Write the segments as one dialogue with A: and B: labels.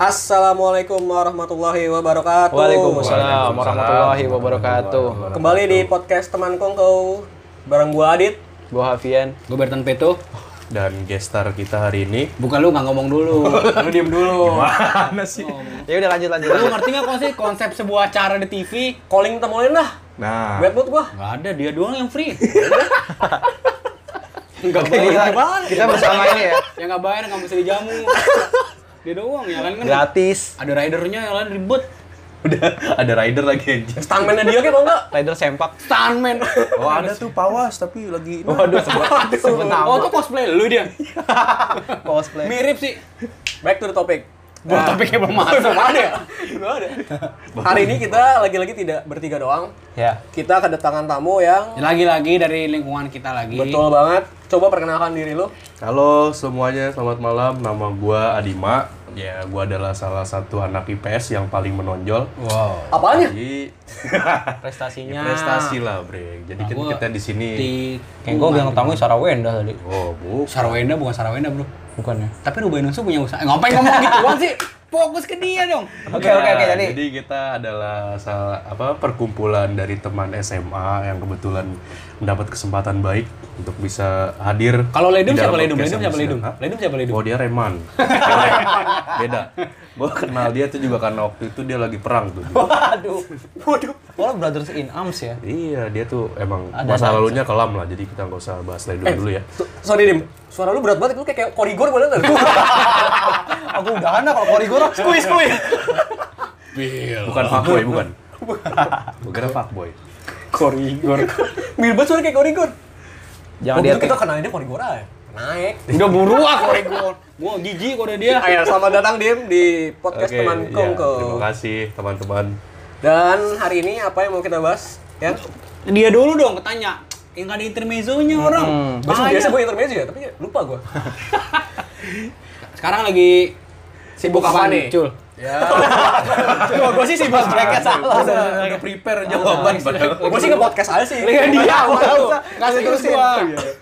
A: Assalamualaikum warahmatullahi wabarakatuh.
B: Waalaikumsalam warahmatullahi wabarakatuh.
A: Kembali di podcast teman kongko bareng gua Adit.
B: Gua Hafian.
C: Gue Bertan Peto.
D: dan gestar kita hari ini
C: Bukan lu nggak ngomong dulu. lu diem dulu.
D: mana sih
B: Ya udah lanjut lanjut.
C: Lu ngerti nggak konsep konsep sebuah acara di TV?
A: Calling temuin lah.
B: Ah.
D: nah
A: Bad mood gua.
C: Gak ada, dia doang yang free. Ya
B: Enggak Kita bersama ini ya.
C: yang nggak bayar nggak bisa dijamu. Dia doang ya kan kan.
B: Gratis.
C: Ada ridernya yang lain ribet.
D: udah ada rider lagi aja
A: Stuntman-nya dia kayak mau enggak?
B: Rider sempak.
C: Stuntman.
D: oh ada tuh pawas tapi lagi
B: Waduh, sebut sebut
C: Oh
B: nama.
C: tuh cosplay lu dia.
B: Cosplay.
C: Mirip sih.
A: Back to the topic.
C: Buat topiknya belum masuk.
A: Belum ada ya? Belum ada. Hari ini kita lagi-lagi tidak bertiga doang.
B: Ya.
A: Kita kedatangan tamu yang
C: Lagi-lagi dari lingkungan kita
B: Iya.
C: lagi.
A: betul banget. Coba perkenalkan diri lu.
D: halo semuanya selamat malam nama gua Adima ya gua adalah salah satu anak IPS yang paling menonjol
C: Wow.
B: Iya.
A: Apanya?
D: jadi
B: Prestasinya.
D: prestasi lah bre jadi kan
C: Gua
D: kita di sini
C: Di
B: Kayak gua bilang tamu Sarawenda tadi.
D: oh bu
C: Sarwenda bukan Sarwenda, Bro.
B: Bukan ya.
C: Tapi Ruben Onsu punya usaha. Eh, Ngapain ngomong gituan sih? Fokus ke dia dong.
B: Oke oke oke jadi.
D: jadi kita adalah salah, apa perkumpulan dari teman SMA yang kebetulan mendapat kesempatan baik untuk bisa hadir.
C: Kalau Ledum
D: di dalam
C: siapa Ledum?
D: podcast
C: Ledum
D: yang
C: siapa Ledum?
D: sedang- Hah?
C: Ledum siapa Ledum?
D: Oh dia Reman. Beda. Gue kenal dia tuh juga karena waktu itu dia lagi perang tuh.
B: Waduh. Waduh. Kalau brothers in arms ya.
D: iya dia tuh emang
B: Ada
D: masa
B: aja.
D: lalunya kelam lah. Jadi kita nggak usah bahas Ledum
B: Eh.
D: dulu ya.
A: So- Sorry Dim, suara lu berat banget, lu kayak kayak korigor gue liat tadi.
B: Aku udahan lah kalau korigor.
A: Kuis kuis.
C: Ya
D: Bukan fuckboy bukan. Bukan fuckboy.
A: Korigor. Mirip banget suara kayak korigor.
B: Jangan
A: Waktu itu
B: diatik.
A: Oh, kita kenalinnya korigor aja. ya? Naik.
C: Udah buru ah korek gua. Gua gigi kode
A: Ayo,
C: dia.
A: Ah, ya, selamat datang Dim di podcast
D: Oke,
A: teman
D: iya,
A: Kongko.
D: terima kasih teman-teman.
A: Dan hari ini apa yang mau kita bahas? Ya.
C: Dia dulu dong ketanya. Yang gak ada intermezzonya orang.
A: Biasa,
C: Bahaya.
A: biasa gue intermezzo ya, tapi lupa gue.
C: Sekarang lagi sibuk apa nih? Cul.
A: ya.
C: Gua gua sih sibuk bracket salah.
D: Udah prepare jawaban padahal.
A: gue sih nge-podcast aja sih.
C: Lihat Iya, dia
A: Nggak
C: lu.
A: usah.
C: Kasih terus gua.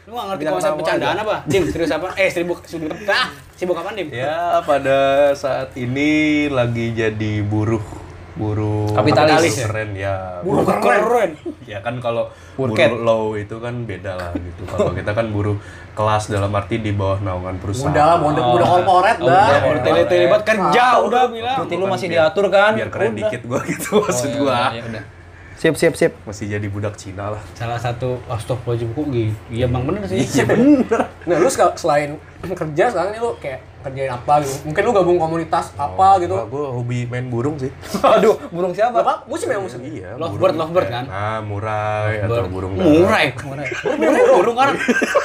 C: Lu gak ngerti
B: Bilang
C: konsep
B: tamu
C: bercandaan apa? Dim, serius apa? Eh, sibuk sibuk ah, sibuk apa Dim?
D: Ya pada saat ini lagi jadi buruh buruh
B: Kapitalis.
D: keren ya
C: Buruh keren.
D: ya kan kalau
B: Burket.
D: buruh low itu kan beda lah gitu kalau kita kan buruh kelas dalam arti di bawah naungan perusahaan
A: Udah lah, model udah korporat Iya,
D: Oh,
A: dah.
C: Udah bertele-tele buat kerja udah bilang.
B: Rutin lu masih diatur kan?
D: biar keren
B: Udah.
D: dikit gua gitu maksud gua
C: Ya udah.
B: Sip sip sip.
D: masih jadi budak Cina lah
C: Salah satu astagfirullahaladzim kok gitu. Iya Bang bener
D: oh,
C: sih.
A: Nah, lu seka- selain kerja sekarang ini lu kayak kerjain apa gitu? Mungkin lu gabung komunitas apa gitu?
D: Wah, gua hobi main burung sih
B: Aduh, burung siapa?
A: Apa? ya, Gue sih memang sendiri.
D: iya
C: Lovebird,
D: burung.
C: lovebird kan?
D: nah murai atau burung dara.
C: Murai, murai. Murai punya burung kan?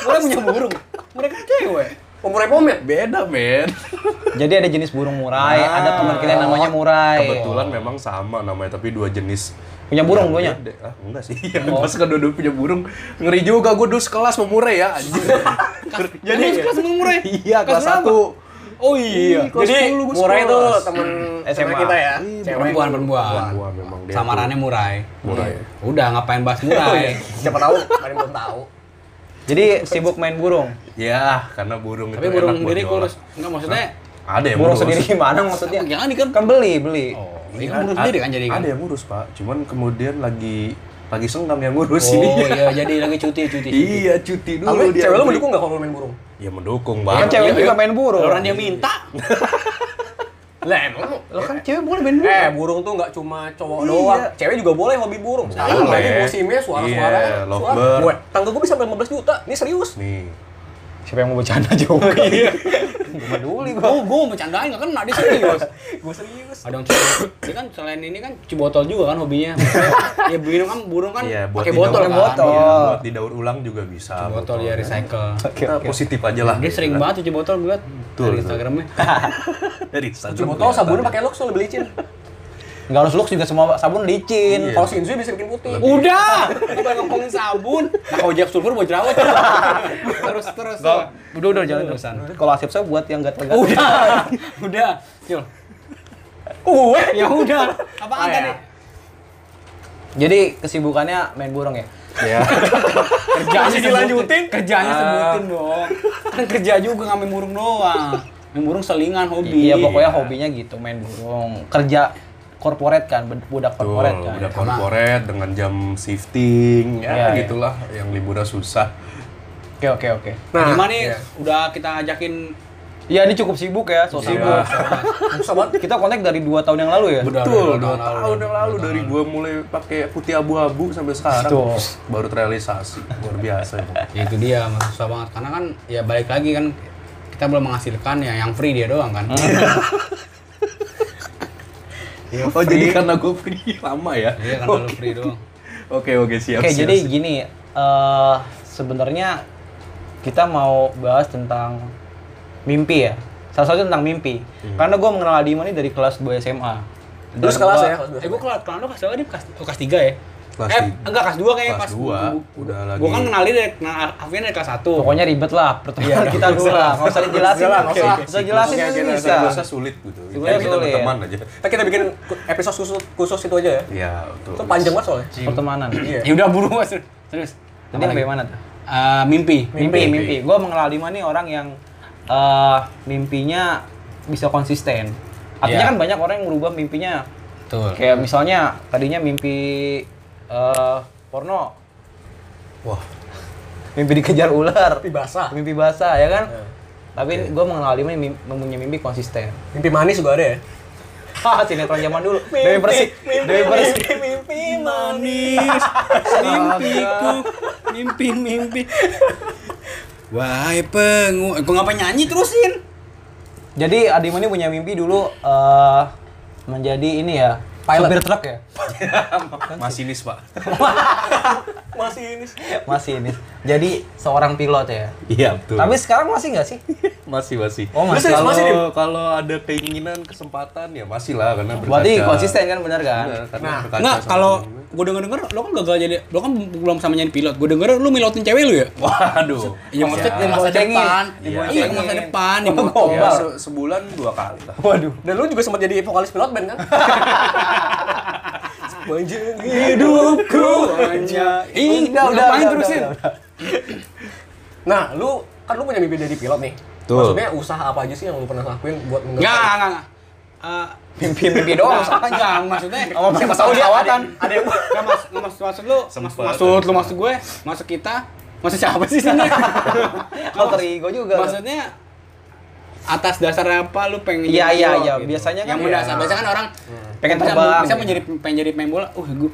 C: Murai punya burung. Murai kan cewek.
A: Pemurai pomet.
D: beda men
B: Jadi ada jenis burung murai, ada teman kita yang namanya murai.
D: kebetulan memang sama namanya tapi dua jenis
B: Punya burung
D: Yang
B: punya.
D: beda. ah, enggak sih yang
C: Oh.
D: pas kedua punya burung ngeri juga gue dus kelas mau murai ya anjir.
C: Jadi kelas sama murai.
D: iya kelas
C: berapa?
D: satu
C: Oh iya.
A: Jadi murai itu temen
B: SMA.
A: SMA kita ya. Cewek.
C: Perempuan perempuan.
D: Iya, Perempuan memang dia
C: Samarannya murai.
D: Murai.
C: Iya. Udah ngapain bahas
A: ya.
C: murai?
A: Oh, iya. Siapa tahu, ada yang belum tahu.
B: Jadi sibuk main burung.
D: ya karena burung
C: Tapi
D: itu enak
C: burung
D: buat
C: sendiri
D: diolah.
C: kurus. Enggak maksudnya
D: ada yang
B: Burung
D: ngurus.
B: sendiri gimana maksudnya?
C: jangan di kan.
B: Kan beli, beli.
C: Oh, ini kan burung sendiri kan jadi kan.
D: ada yang ngurus pak cuman kemudian lagi lagi senggang yang ngurus
C: Oh
D: ini
C: iya, jadi lagi cuti, cuti.
D: iya cuti dulu
A: Tapi
D: dia
A: cewek lu
D: cuti.
A: mendukung nggak kalau lu main burung?
D: ya mendukung
B: Kan
D: bang
B: cewek
C: iya,
B: juga
C: iya.
B: main burung.
C: Orang dia minta.
A: Lah emang
B: Lo kan cewek boleh main burung.
A: Eh, burung tuh nggak cuma cowok doang. Cewek juga boleh hobi burung. Sekarang
D: Boleh.
A: lagi musimnya suara-suara.
D: Iya,
A: suara.
D: lovebird.
A: Gue, tangga gue bisa sampai 15 juta. Ini serius.
D: nih
B: Siapa yang mau bercanda juga? Iya. peduli gua.
C: Gue gue bercandain nggak kena dia serius.
A: gue serius.
C: Ada yang serius. Dia kan selain ini kan cibotol juga kan hobinya. Maksudnya, ya burung kan burung kan
D: iya buat
C: pakai
D: didaur-
C: botol kan.
D: iya,
B: botol.
D: buat didaur ulang juga bisa
C: Botol ya recycle.
D: Kita
B: Iya.
D: positif aja lah
C: Dia sering banget cuci botol gue liat
D: Betul,
C: dari
D: betul.
C: Instagramnya.
D: dari Instagram
A: Cuma tau
D: kelihatan.
A: sabunnya
B: Iya.
A: pakai Lux lu beli licin.
B: Enggak harus lux juga semua sabun licin.
A: Kalau Shinzui bisa bikin putih.
C: Udah, bukan ngomongin sabun. Nah, kalau Jeff Sulfur buat jerawat. terus terus. Udah udah jalan terusan.
B: Kalau asep saya buat yang gatel-gatel.
C: Udah, udah. Cil.
A: Gue.
C: Ya udah. iya. Apaan
A: Ah, ya.
C: tadi?
B: Jadi kesibukannya main burung ya.
D: ya
C: Kerjanya
A: Masih dilanjutin?
C: Ah. Kerjanya sebutin dong. Kan kerja juga ngamen burung doang. Yang burung selingan hobi.
B: Iya, pokoknya hobinya gitu, main burung. Kerja corporate kan, bud- budak
D: Betul,
B: corporate kan.
D: udah korporat dengan jam shifting
B: Iya,
D: ya
B: iya.
D: gitulah yang liburan susah.
B: Oke, oke, oke.
A: Nah,
C: Nah, gimana nih?
A: iya.
C: Udah kita ajakin
B: Iya, ini cukup sibuk ya, so sibuk.
D: Iya.
A: susah banget.
B: Kita connect dari 2 tahun yang lalu ya?
D: Betul, dua tahun yang lalu dari gua mulai pakai putih abu-abu sampai sekarang
B: Betul.
D: baru terrealisasi luar biasa. ya.
C: ya itu dia mas susah banget karena kan ya balik lagi kan kita belum menghasilkan ya yang free dia doang kan
D: Oh jadi karena gue free lama ya?
C: dia kan lalu free doang
D: Oke oke siap.
B: Oke,
D: siap,
B: jadi
D: siap.
B: gini, eh sebenarnya kita mau bahas tentang mimpi ya. Salah satunya tentang mimpi. Karena gue mengenal Adima ini dari kelas 2 SMA. Dan
A: Terus kelas
B: gua-
A: ya?
C: eh gua kelas kelas lu kelas berapa dia kelas oh, kelas tiga ya
D: Kelas
C: eh
D: tiga.
C: enggak kelas dua kayaknya
D: Kelas dua, udah
C: gua,
D: lagi.
C: kan kenal dia dari kenal Alvin dari kelas satu
B: Pokoknya ribet lah pertemuan kita dulu lah. Nggak usah dijelasin.
A: Nggak usah,
B: Oke,
A: nggak usah.
B: Bisa jelasin
D: Oke, oke,
B: itu
D: oke,
B: bisa.
D: nggak usah sulit gitu.
B: Sulit,
D: Kita
B: sulit.
D: berteman aja.
A: Ntar kita bikin episode khusus khusus itu aja ya.
D: Iya betul.
A: Itu panjang banget soalnya.
B: Pertemanan.
A: Iya.
C: ya udah buru mas terus
B: Jadi yang bagaimana tuh?
C: Eh, mimpi
B: Mimpi, mimpi. Gue mengenal Adima nih orang yang eh mimpinya bisa konsisten. Artinya
C: Iya.
B: kan banyak orang yang merubah mimpinya
C: betul
B: Kayak misalnya tadinya mimpi eh porno,
D: Wah
B: mimpi dikejar ular,
A: Mimpi basah.
B: mimpi basah ya kan? Tapi gue mengenal Adima yang mim- mempunyai mimpi konsisten.
A: Mimpi manis juga ada ya.
B: Hah, sinetron zaman dulu. Dewi Persik, Dewi Persik.
A: mimpi
C: manis mimpiku mimpi mimpi wahai pengu eh, gua ngapa nyanyi terusin
B: Jadi Adima ini punya mimpi dulu eh menjadi ini ya,
A: Pilot.
B: supir truk ya.
D: masinis pak.
A: Masih ini. sih.
B: Masih ini. Jadi seorang pilot ya.
D: Iya betul.
B: Tapi sekarang masih nggak sih?
D: masih masih.
B: Oh, masih.
D: Kalau
A: Masih, Dim?
D: kalau ada keinginan kesempatan ya masih lah karena berkaca.
B: Berarti konsisten kan benar kan?
D: Bener, karena
A: Nah,
D: berkaca
C: Enggak,
D: sama
C: kalau
D: temen.
C: gue denger denger lo kan gagal jadi lo kan belum sama jadi pilot. Gue denger lu milotin cewek lu ya?
D: Waduh.
C: Ya maksudnya ke masa
B: Diboncengin.
C: depan,
D: Iya.
C: iya ke masa depan,
B: Oh,
C: diboncengin.
B: gombal.
D: Ya, se- sebulan dua kali lah.
B: Waduh.
A: Dan lu juga sempat jadi vokalis pilot band kan? Manjing
C: hidupku hanya Ih,
B: Udah, udah,
C: ngapain
B: udah,
C: terusin?
B: udah, udah.
A: Nah, lu kan lu punya mimpi jadi pilot nih.
D: Betul.
A: Maksudnya usaha apa aja sih yang lu pernah lakuin buat
C: Enggak,
A: menggapai?
C: enggak, enggak. Eh,
B: Mimpi-mimpi doang.
C: enggak, enggak, maksudnya
B: Sama mimpi pesawat-pesawatan.
C: ada yang enggak mas, enggak maksud maksud lu, maksud,
D: Sempet.
C: maksud lu maksud gue, maksud kita, maksud siapa sih sini?
B: Alter ego juga.
C: Maksudnya atas dasar apa lu pengen
B: Iya,
C: jadi
B: iya,
C: pilot
B: iya.
C: gitu?
B: Biasanya kan
C: yang
B: iya.
C: mendasar biasanya kan orang
B: Pengen
C: bisa-
B: terbang,
C: bisa
B: gitu.
C: menjadi pengen jadi pemain bola uh gue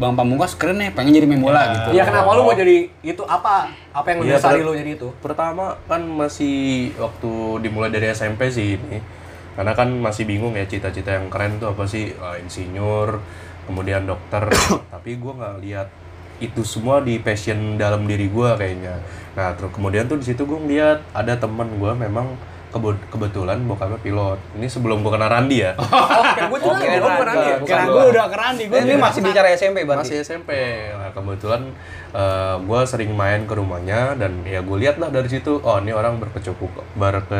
C: bang pamungkas keren nih pengen jadi pemain bola gitu
A: Ya kenapa lu mau jadi itu apa? Apa yang
D: Iya,
A: mendasari
D: per-
A: lu jadi itu?
D: Pertama kan masih waktu dimulai dari SMP sih ini. Karena kan masih bingung ya cita-cita yang keren tuh apa sih? Eh, insinyur, kemudian dokter. Tapi gua nggak lihat itu semua di passion dalam diri gua kayaknya. Nah, terus kemudian tuh di situ gua ngeliat ada temen gua memang kebo- kebetulan bokapnya pilot. Ini sebelum gua kenal Randi ya.
A: Oh, kayak gue juga,
B: Oke,
A: gue bukan
B: Rangga.
A: Andi ya?
C: kira
D: Bukan
C: gue
D: gua.
C: udah keren nih gue
B: Ini
D: Iya.
B: masih bicara SMP berarti.
D: masih SMP nah, kebetulan gue sering main ke rumahnya dan ya gue lihat lah dari situ oh ini orang berkecukup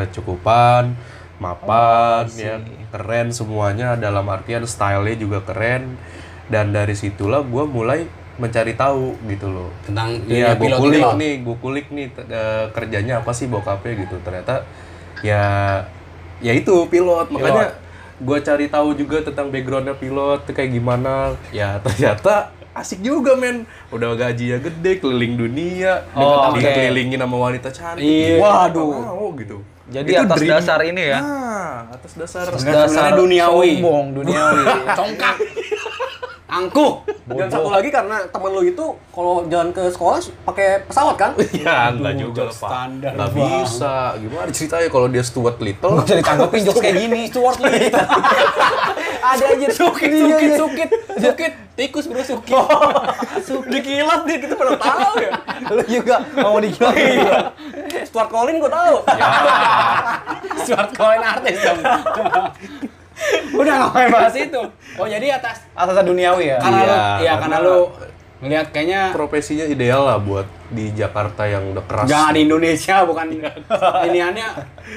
D: berkecukupan mapan ya keren semuanya dalam artian stylenya juga keren dan dari situlah gue mulai mencari tahu gitu loh
C: tentang dunia
D: Iya, gue
C: pilot
D: kulik
C: pilot
D: nih, gue kulik nih t- eh, kerjanya apa sih bokapnya gitu. Ternyata ya ya itu pilot. Makanya gue cari tahu juga tentang backgroundnya pilot tuh kayak gimana. Ya ternyata asik juga men. Udah gajinya gede, keliling dunia,
B: Oh, oke.
D: di- dikelilingin sama wanita cantik.
C: Iya.
D: Waduh, mau gitu.
B: Jadi atas dasar ini ya?
D: Nah, atas dasar.
C: sebenarnya duniawi.
B: Sombong, duniawi.
C: congkak angkuh
A: Dan satu lagi karena temen lu itu kalau jalan ke sekolah pakai pesawat kan?
D: Ya, enggak
C: Aduh,
D: juga, Pak.
C: standar
D: Nggak
C: banget.
D: bisa. Gimana ceritanya kalau dia Stuart Little?
B: Nggak usah ditanggepin jokes kayak gini, Stuart Lee. Ada aja
C: sukit
A: Iya,
C: sukit sukit sukit tikus bro sukit
A: Dikilat dia gitu pada tahu ya.
B: Lu juga mau dikilat
C: Iya.
B: juga.
A: Stuart Collin gue tahu.
C: Stuart Cohen artis dong udah ngapain bahas itu oh jadi atas
B: Asasa duniawi ya.
C: karena lu
D: Iya,
C: ya karena
D: karena-
C: lu melihat kayaknya
D: profesinya ideal lah buat di Jakarta yang udah keras.
C: jangan di Indonesia bukan iniannya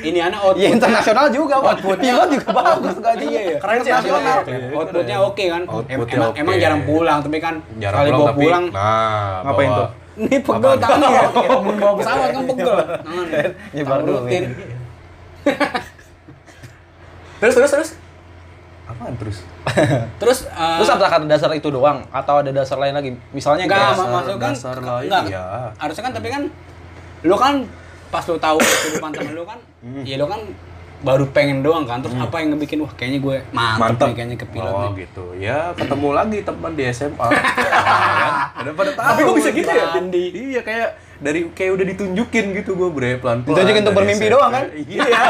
C: iniannya output
B: Ya internasional juga, Pak. Pilot juga bagus gajinya.
C: iya.
A: Keren sih
C: Nasional.
A: nasional.
D: Iya,
C: Outputnya
D: keren.
C: oke kan. Em-
D: Outputnya
C: emang,
D: oke.
C: emang jarang pulang, tapi kan
D: Jarang
C: kali
D: pulang
C: gua
D: tapi
C: pulang,
D: nah
B: Ngapain
D: bawa-
B: tuh?
C: ini pegel
D: Apaan? Iya,
C: tangan ya. Bawa pesawat kan pegel. Tangan.
B: Nyebar
C: Tangan
B: duit.
C: rutin.
A: Terus terus terus.
D: Apaan terus?
C: Terus, eh,
B: Terus apa kata dasar itu doang atau ada dasar lain lagi? Misalnya
C: Enggak,
B: kayak-
C: ma- maksud kan
D: dasar lain,
C: enggak.
D: ya.
C: Harusnya kan tapi kan lu kan pas lu tahu kehidupan temen lu kan,
D: Hmm.
C: ya lu kan baru pengen doang kan. Terus apa yang ngebikin wah kayaknya gue mantep, nih kayaknya ke pilot
D: oh,
C: nih.
D: gitu. Ya, ketemu lagi teman di SMA. Ya kan? Udah pada tahu.
A: Tapi kok bisa gitu ya?
C: Andi.
D: Iya, kayak dari kayak udah ditunjukin gitu gue bre pelan-pelan.
B: Ditunjukin untuk
D: dari
B: bermimpi
D: SMP.
B: doang, kan?
D: Iya.
A: ya.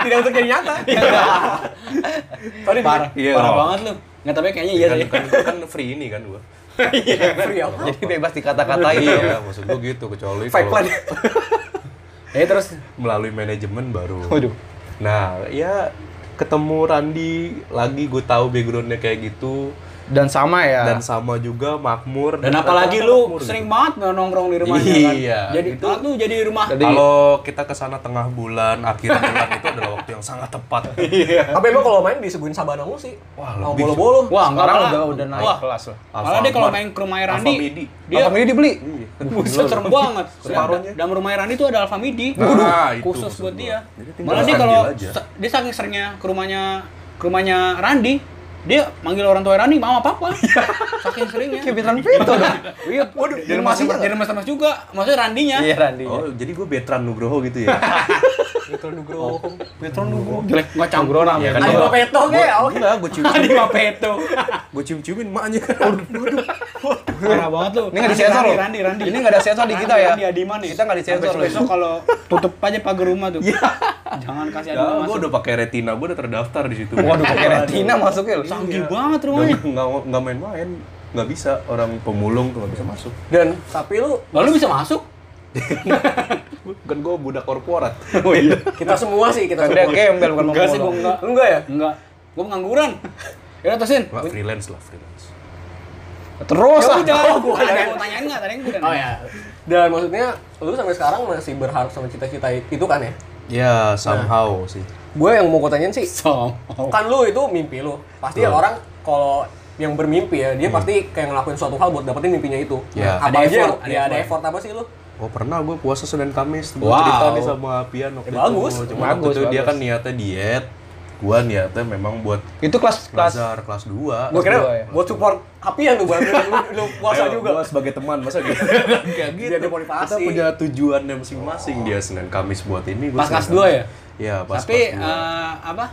A: Tidak untuk jadi nyata. Tadi
C: Parah,
D: Iya,
C: parah
D: dong.
C: banget lu. Enggak tapi kayaknya iya
D: kan,
C: sih.
D: kan, kan free ini kan gue.
A: free apa?
B: Jadi bebas dikata-katain.
D: iya, maksud gue gitu kecuali
A: Fake plan.
D: kalau
C: Ya terus
D: melalui manajemen baru.
B: Waduh.
D: Nah, ya ketemu Randi lagi gue tahu backgroundnya kayak gitu
B: Dan sama ya.
D: dan sama juga makmur gitu.
C: dan apalagi lu sering banget nongkrong di rumahnya kan.
D: Iya,
C: Jadi
D: itu-
C: malah tuh jadi di rumah.
B: Jadi-
D: kalau kita ke sana tengah bulan akhir bulan itu adalah waktu yang sangat tepat
B: Iya.
A: Tapi emang kalau main disuguhin sabana mulu sih.
D: Wah,
A: Mau
D: lebih.
A: bolo-bolo.
B: Wah,
C: Enggak,
B: sekarang
C: malah-
B: udah udah naik
C: wah,
B: kelas lah.
C: Malah dia kalau
D: Alfamart.
C: main ke rumah Randi,
D: Alfamidi.
C: dia
B: Alfamidi dibeli.
C: Iya. Buset serem banget.
D: Separuhnya.
C: Dalam rumah Randi tuh ada Alfamidi.
D: Nah,
C: Waduh,
D: itu
C: khusus
D: maksud
C: buat
D: gua.
C: dia.
D: Jadi tinggal
C: Malah dia
D: dipanggil
C: kalau
D: aja.
C: se- dia saking seringnya ke rumahnya ke rumahnya Randi, dia manggil orang tua Randi mama papa. saking seringnya.
D: gitu.
B: Kayak bintang pintu dong.
C: Iya, waduh, jadi mas jadi mas-mas juga. Maksudnya Randinya.
B: Iya, Randi.
D: Oh, jadi gue Betran Nugroho gitu ya?
A: Itu Nugro.
B: Petron dulu.
C: Jelek enggak campur
B: Bro
D: Iya
B: namanya.
D: kan?
A: Ada
D: Gua-
A: Bapeto
D: Gua-
A: ya, oke.
D: Enggak, gue cium
C: Adi Mapeto.
D: Gue cium-ciumin maknya.
C: Parah banget lu.
B: Ini nggak disensor
C: Randi,
B: loh.
C: Randi, Randi.
B: Ini nggak ada sensor di kita ya.
C: Randi Adiman nih.
B: Kita nggak disensor loh. Iya.
C: Besok kalau tutup aja pagar rumah tuh. Jangan kasih
D: Ya,
C: Adiman
D: gue
C: masuk.
D: udah pakai retina, gue udah terdaftar di situ.
B: Waduh, pakai retina masuknya loh.
C: Canggih banget rumahnya.
D: Nggak- Nggak nggak main-main, nggak bisa orang pemulung tuh nggak bisa masuk.
A: Dan tapi lu
C: Lalu bisa masuk?
D: Kan gue budak korporat. iya.
A: kita semua sih kita
B: Udah
A: semua.
B: gembel bukan
C: Enggak sih,
B: memulung.
C: gua enggak.
A: Lu Enggak ya?
C: Enggak. Gua pengangguran. Ya udah tosin.
D: Nggak, freelance lah freelance.
B: Terus
C: Ya
B: ah.
C: udah,
A: Oh,
C: gua
A: gua
C: ada
A: ada.
C: yang mau tanyain enggak? Tadi yang gua udah.
A: Oh
C: nanya.
A: ya. Dan maksudnya lu sampai sekarang masih berharap sama cita-cita itu kan ya?
D: Ya somehow sih.
A: Gue yang mau gue tanyain sih,
C: So.
A: kan lu itu mimpi lu. Pasti
D: Betul. Hmm.
A: orang kalau yang bermimpi ya, dia pasti kayak ngelakuin suatu hal buat dapetin mimpinya itu.
D: Ya.
A: Apa
C: Ada
A: aja
C: effort,
A: yang-
C: ada
A: ya, ada
C: effort.
A: effort apa sih lu?
D: Oh pernah gue puasa Senin Kamis. Gue
C: Wow.
D: cerita nih sama Pian waktu
A: Eh, bagus.
D: itu. Cuma waktu
B: Bagus,
D: itu dia
B: bagus.
D: kan niatnya diet. Gue niatnya memang buat
B: Itu kelas kelas
D: bazar kelas 2.
A: Gue
B: dua ya.
A: kira buat support apian lu buat lu, lu- lu puasa juga.
D: Gue sebagai teman, masa gitu? Kayak gitu.
A: Biar dia motivasi.
D: Kita punya tujuannya masing-masing. Dia Senin Kamis buat ini. gua
C: Pas kelas
D: Senin
C: 2
D: Kamis.
C: ya?
D: Iya, pas
C: Tapi
D: kelas
C: eh, apa?